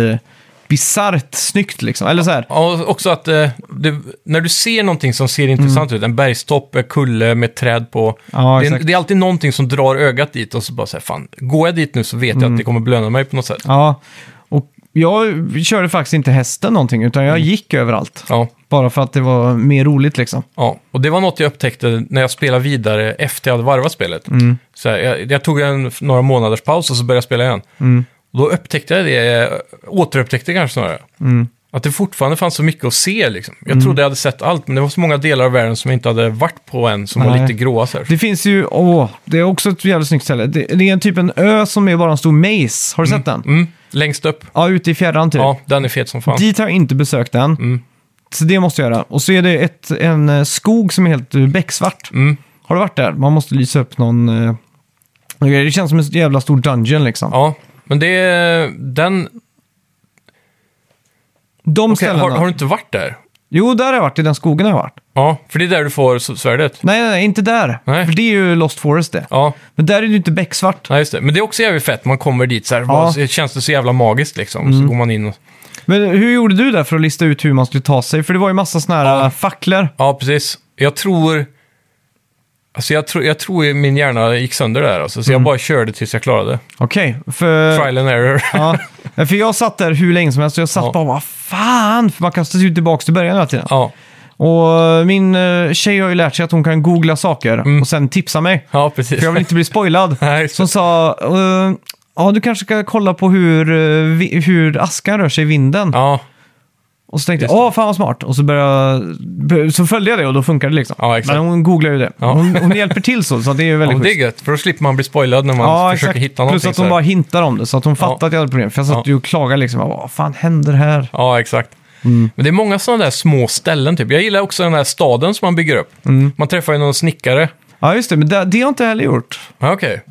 A: bisarrt snyggt liksom. Eller så här,
B: Ja, och också att eh, det, när du ser någonting som
A: Mm.
B: ser intressant ut, en bergstopp, en kulle med träd på.
A: Ja,
B: det, är,
A: exakt.
B: det är alltid någonting som
A: Mm.
B: drar ögat dit och så bara så här, fan, går jag dit nu så vet jag att det kommer belöna mig på något sätt.
A: ja. Och jag körde faktiskt inte hästen någonting, utan
B: Mm.
A: jag gick överallt.
B: Ja,
A: Bara för att det var mer roligt liksom.
B: ja. Och det var något jag upptäckte när jag spelade vidare efter jag hade varvat spelet. Så här, jag, jag tog en några månaders paus och så började jag spela igen. Och då upptäckte jag det, återupptäckte kanske snarare. Att det fortfarande fanns så mycket att se liksom. Jag trodde jag hade sett allt, men det var så många delar av världen som jag inte hade varit på än, som var
A: Nej.
B: lite gråa så här.
A: Det finns ju, åh, det är också ett jävligt snyggt ställe. Det, det är en typ en ö som är bara en stor maze. Har du sett den?
B: Mm, längst upp.
A: Ja, ute i fjärran typ.
B: Ja, Mm. den är fet som fan.
A: Dit har jag inte besökt än. Så det måste jag göra. Och så är det ett, en eh, skog som är helt eh, becksvart.
B: Mm.
A: Har du varit där? Man måste lysa upp någon... eh, grej. Det känns som en jävla stor dungeon liksom.
B: Ja, men det den...
A: De
B: okej,
A: ställena.
B: har, har du inte varit där?
A: Jo, där har jag varit. I den skogen har jag varit.
B: Ja, för det är där du får s- svärdet.
A: Nej, nej, nej inte där.
B: Nej.
A: För det är ju Lost Forest det.
B: Ja,
A: Men där är det ju inte becksvart.
B: nej, just det. Men det är också jävligt fett. Man kommer dit så här, bara, så känns det så jävla magiskt liksom.
A: Mm.
B: Så går man in och...
A: Men hur gjorde du där för att lista ut hur man skulle ta sig? För det var ju massa såna här
B: Ja.
A: ja. facklor.
B: Ja, precis. Jag tror... Alltså jag, tror jag tror ju min hjärna gick sönder där alltså,
A: Mm.
B: så jag bara körde tills jag klarade.
A: Okej, för...
B: Trial and error.
A: Ja. För jag satt där hur länge som helst och jag satt
B: Ja.
A: bara vad fan, för man kastas ju tillbaka till början hela tiden.
B: ja.
A: Och min eh, tjej har ju lärt sig att hon kan googla saker och sen tipsa mig.
B: ja, precis.
A: För jag vill inte bli spoilad.
B: Mm. Nej, just det.
A: Som sa, eh, ja du kanske ska kolla på hur, eh, vi- hur askan rör sig i vinden.
B: Ja,
A: Och så tänkte jag,
B: Just det.
A: åh fan vad smart. Och så, började, jag- så följde jag det och då funkade det liksom.
B: Ja, exakt.
A: Men hon googlar ju det.
B: Ja.
A: Hon, hon hjälper till så, så det är ju
B: ja
A: väldigt
B: men det
A: schysst.
B: är gött. För då slipper man bli spoilad när man
A: Ja,
B: försöker
A: exakt.
B: hitta någonting.
A: Plus att
B: så
A: hon
B: här.
A: bara hintar om det, så att hon fattade
B: Ja.
A: att jag hade problem. För jag satt
B: Ja.
A: ju och klagade liksom, vad fan händer här?
B: Ja, exakt.
A: Mm.
B: Men det är många sådana där små ställen typ. Jag gillar också den här staden som man bygger upp.
A: Mm.
B: Man träffar ju någon snickare.
A: Ja, just det. Men det, det har jag inte heller gjort.
B: Ja, okej.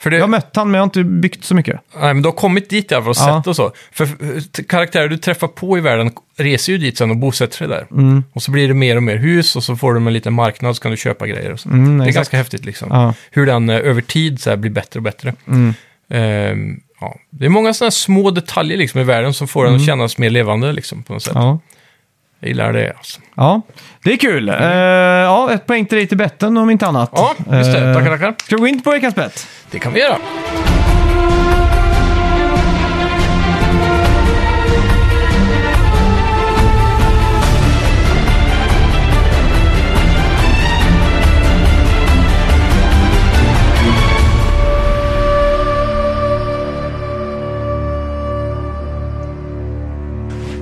B: För det,
A: Jag har mött han, men jag har inte byggt så mycket.
B: nej, men du har kommit dit i alla fall och
A: Ja.
B: sett och så. För eh, t- karaktärer du träffar på i världen reser ju dit sen och bosätter sig där.
A: Mm.
B: Och så blir det mer och mer hus och så får de en liten marknad så kan du köpa grejer och så. det är
A: Mm, exakt.
B: ganska häftigt liksom.
A: Ja. Mm.
B: Hur den eh, över tid så här blir bättre och bättre. Ehm, ja. Det är många sådana små detaljer liksom i världen som får den att kännas mer levande liksom på något sätt.
A: Mm. Ja.
B: Jag gillar det alltså.
A: ja, det är kul. Eh, ja, ett poäng till dig till betten om inte annat.
B: Mm. Ja, just det.
A: Eh,
B: Tackar, tackar.
A: Ska vi gå in på veckans bett?
B: Det kan vi göra.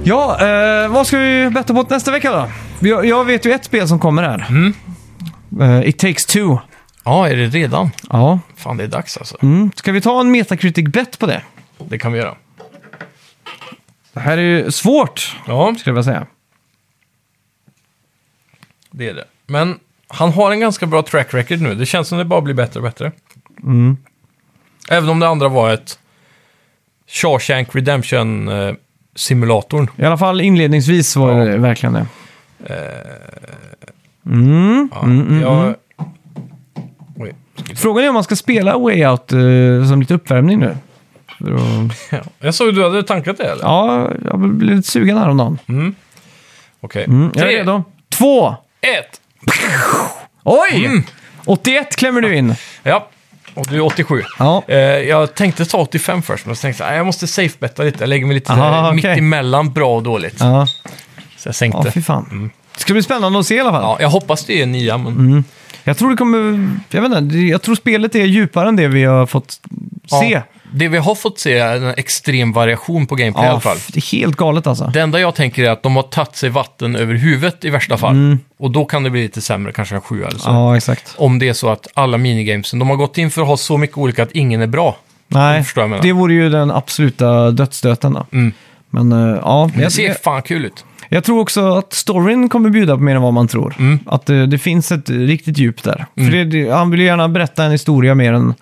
A: Ja, eh, vad ska vi betta på nästa vecka då? Jag, jag vet ju ett spel som kommer här.
B: Mm.
A: Eh, It takes two.
B: Ja, är det redan?
A: Ja.
B: Fan, det är dags alltså.
A: Mm. Ska vi ta en metacritic bet på det?
B: Det kan vi göra.
A: Det här är ju svårt,
B: Ja,
A: skulle jag vilja säga.
B: det är det. Men han har en ganska bra track record nu. Det känns som det bara blir bättre och bättre.
A: Mm.
B: Även om det andra var ett Shawshank eh, Redemption-simulatorn.
A: I alla fall inledningsvis var
B: Ja.
A: det verkligen det.
B: Ja,
A: Mm,
B: jag... Oj.
A: Frågan är om man ska spela Way Out eh, som lite uppvärmning nu. För att-
B: Ja. Jag såg att du hade tankat det, eller?
A: Ja, jag blev lite sugen häromdagen.
B: Okej.
A: Mm, jag är
B: Mm. Tre,
A: redo. Två!
B: ett!
A: Oj!
B: Mm.
A: 81 klämmer du in.
B: Ja, och du är 87.
A: Ja.
B: Eh, jag tänkte ta 85 först, men så tänkte jag "Nej, jag måste safe-betta lite. Jag lägger mig lite
A: Aha,
B: eh, mitt
A: okej.
B: emellan bra och dåligt.
A: Ja,
B: Så jag sänkte.
A: ja fy fan. Det ska bli spännande att se i alla fall.
B: Mm. Ja, jag hoppas det är nia, men
A: Jag tror det kommer... Jag vet inte, jag tror spelet är djupare än det vi har fått se.
B: Ja, det vi har fått se är en extrem variation på gameplay i alla fall.
A: f- det är helt galet alltså.
B: Det enda jag tänker är att de har tagit sig vatten över huvudet i värsta fall. Och då kan det bli lite sämre, kanske en sjua eller så.
A: Mm. Ja, exakt.
B: Om det är så att alla minigamesen, de har gått in för att ha så mycket olika att ingen är bra.
A: Nej,
B: förstår vad jag menar. Mm.
A: det vore ju den absoluta dödsstöten då. Men eh, ja,
B: Det
A: jag,
B: ser fan kul ut.
A: jag tror också att storyn kommer bjuda på mer än vad man tror.
B: Mm.
A: Att eh, det, det finns ett riktigt djup där. För det, det, han vill ju gärna berätta en historia mer än,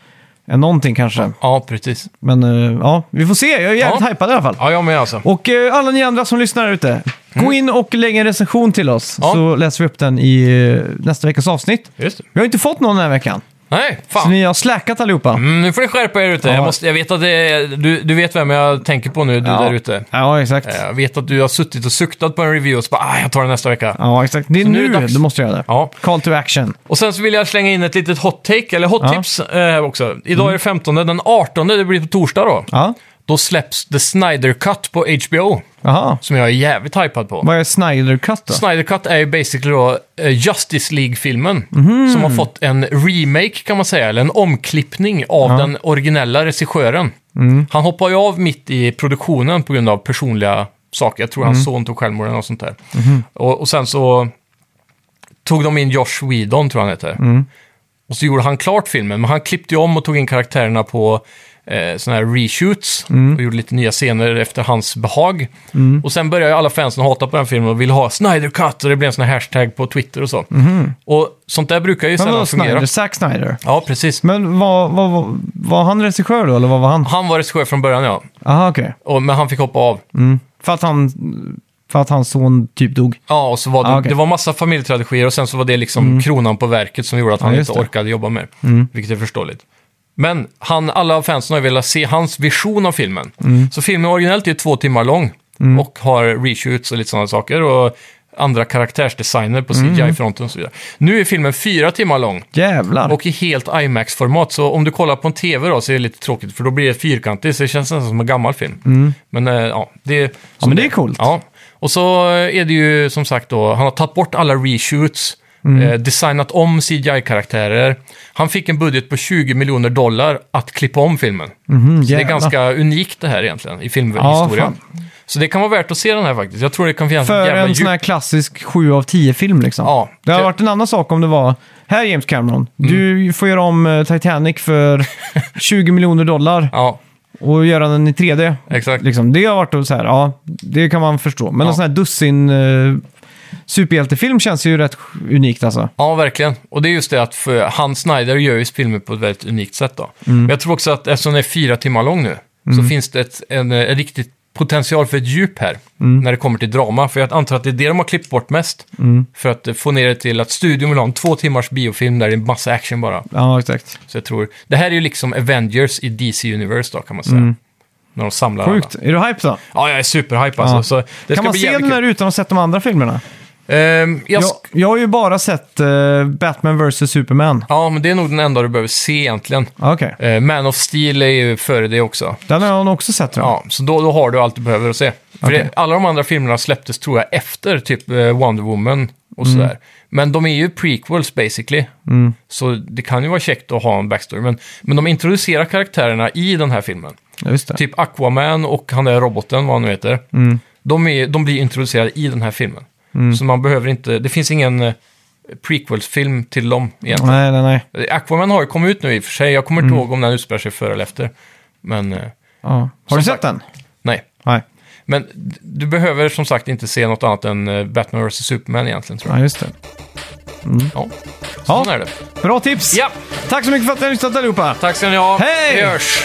A: än någonting kanske.
B: Ja, precis.
A: Men eh, ja, vi får se. Jag är jävligt
B: Ja.
A: hypad i alla fall.
B: Ja, jag med alltså.
A: Och eh, alla ni andra som lyssnar där ute, gå in och lägg en recension till oss.
B: Mm. Ja.
A: Så läser vi upp den i eh, nästa veckas avsnitt.
B: Just det.
A: Vi har inte fått någon den här veckan.
B: Nej,
A: Så
B: fan.
A: ni har släkat allihopa.
B: Mm, nu får ni skärpa er ute.
A: Ja.
B: Jag, måste, jag vet att det är, du, du vet vem jag tänker på nu, du
A: Ja.
B: där ute.
A: Ja, exakt.
B: Eh, Jag vet att du har suttit och suktat på en review och så bara, ah, jag tar det nästa vecka.
A: Ja, exakt. Det är
B: nu är
A: nu,
B: det dags.
A: du måste göra det.
B: Ja.
A: Call to action.
B: Och sen så vill jag slänga in ett litet hot take, eller hot
A: Ja. Mm.
B: tips eh, också. Idag är det 15, den 18, det blir på torsdag då.
A: Ja.
B: Då släpps The Snyder Cut på HBO,
A: Jaha.
B: som jag är jävligt hypad på.
A: Vad är Snyder Cut då?
B: Snyder Cut är ju basically då eh, Justice League-filmen.
A: Mhm.
B: Som har fått en remake kan man säga, eller en omklippning av den originella regissören.
A: Mm.
B: Han hoppar ju av mitt i produktionen på grund av personliga saker. Jag tror
A: Mm.
B: hans son tog självmord eller något sånt där.
A: Mhm.
B: Och, och sen så tog de in Josh Whedon, tror jag han heter.
A: Mm.
B: Och så gjorde han klart filmen, men han klippte ju om och tog in karaktärerna på eh, såna här reshoots
A: Mm.
B: och gjorde lite nya scener efter hans behag. Och sen började ju alla fansen hata på den filmen och ville ha Snyder Cut och det blev en sån här hashtag på Twitter och så. Och sånt där brukar ju
A: Mm-hmm. Men vadå
B: sällan
A: Snyder?
B: fungera.
A: Zack Snyder?
B: Ja, precis.
A: Men var, var, var, var han regissör då, eller vad var han?
B: Han var regissör från början, ja.
A: Jaha, okej.
B: Och, men han fick hoppa av.
A: Mm. För att han... För att hans son typ dog.
B: Ja, och så var det,
A: Ah, okej. Mm.
B: det var massa familjetragedier och sen så var det liksom kronan på verket som gjorde att han
A: Ja, just
B: inte
A: det. Mm.
B: orkade jobba mer. Vilket är förståeligt. Men han, alla fansen har ju velat se hans vision av filmen.
A: Mm.
B: Så filmen originellt är ju två timmar lång och har reshoots och lite sådana saker. Och andra karaktärsdesigner på
A: Mm.
B: CGI-fronten och så vidare. Nu är filmen fyra timmar lång
A: Jävlar.
B: och i helt IMAX-format. Så om du kollar på en TV då så är det lite tråkigt för då blir det fyrkantigt. Så det känns nästan som en gammal film. Men eh, ja, det...
A: Mm. ja, men det är coolt.
B: Ja, och så är det ju som sagt då, han har tagit bort alla reshoots,
A: Mm.
B: eh, designat om CGI-karaktärer. Han fick en budget på 20 miljoner dollar att klippa om filmen.
A: Mhm,
B: Så det är
A: jävlar.
B: ganska unikt det här egentligen i
A: Ja,
B: filmhistoria.
A: fan.
B: så det kan vara värt att se den här faktiskt. Jag tror det kan finnas
A: För
B: jävla
A: en
B: djup-
A: sån här klassisk 7 av 10-film liksom.
B: Ja. Mm.
A: Det hade
B: Ty-
A: varit en annan sak om det var, här James Cameron, du får göra om eh, Titanic för 20 miljoner dollar
B: Ja,
A: och göra den i 3D.
B: exakt.
A: Liksom, det har varit så här, ja, det kan man förstå. Men
B: Ja.
A: en sån här dussin eh, superhjältefilm känns ju rätt unikt alltså.
B: Ja, verkligen. Och det är just det att för han Snyder gör ju filmer på ett väldigt unikt sätt. Då.
A: Mm.
B: Men jag tror också att eftersom den är fyra timmar lång nu så finns det ett, en, en riktigt potential för ett djup här
A: Mm.
B: när det kommer till drama. För jag antar att det är det de har klippt bort mest.
A: Mm.
B: För att eh, få ner det till att studion vill ha en två timmars biofilm där det är massa action bara.
A: Ja, exakt.
B: Så jag tror, det här är ju liksom Avengers i DC Universe då kan man säga. När de samlar
A: Mm. Sjukt.
B: alla.
A: Är du hype då?
B: Ja, jag är superhype alltså.
A: Ja.
B: Så det ska
A: kan man
B: bli
A: se
B: jävligt
A: den här
B: kul.
A: utan att ha sett de andra filmerna?
B: Ehm, jag
A: Jag,
B: sk-
A: jag har ju bara sett eh, Batman vs. Superman. Ah,
B: ja, men det är nog den enda du behöver se egentligen.
A: Okej.
B: Eh, Man of Steel är ju före det också.
A: Den har jag nog också sett tror jag.
B: Ja, så då, då har du allt du behöver att se. För
A: Okej.
B: det, alla de andra filmerna släpptes, tror jag, efter typ eh, Wonder Woman och
A: Mm.
B: sådär. Men de är ju prequels basically. Så det kan ju vara käckt att ha en backstory. Men, men de introducerar karaktärerna i den här filmen.
A: Ja, Mm. just det.
B: Typ Aquaman och han där roboten, vad han nu heter. De, är, de blir introducerade i den här filmen.
A: Mm.
B: Så man behöver inte, det finns ingen eh, prequels-film till dem egentligen.
A: Nej, nej, nej.
B: Aquaman har ju kommit ut nu i och för sig. Jag kommer
A: Mm.
B: inte ihåg om den utspelar sig före eller efter. Men eh,
A: Ja. Har
B: Som
A: du
B: sagt-
A: sett den?
B: nej.
A: Nej.
B: Men d- du behöver som sagt inte se något annat än eh, Batman vs. Superman egentligen tror jag.
A: Ja, just det.
B: Ja.
A: Mm. Ja.
B: Så är det.
A: Bra tips!
B: Ja,
A: Tack så mycket för att ni har lyssnat allihopa!
B: tack ska ni ha.
A: Hej!
B: Vi hörs!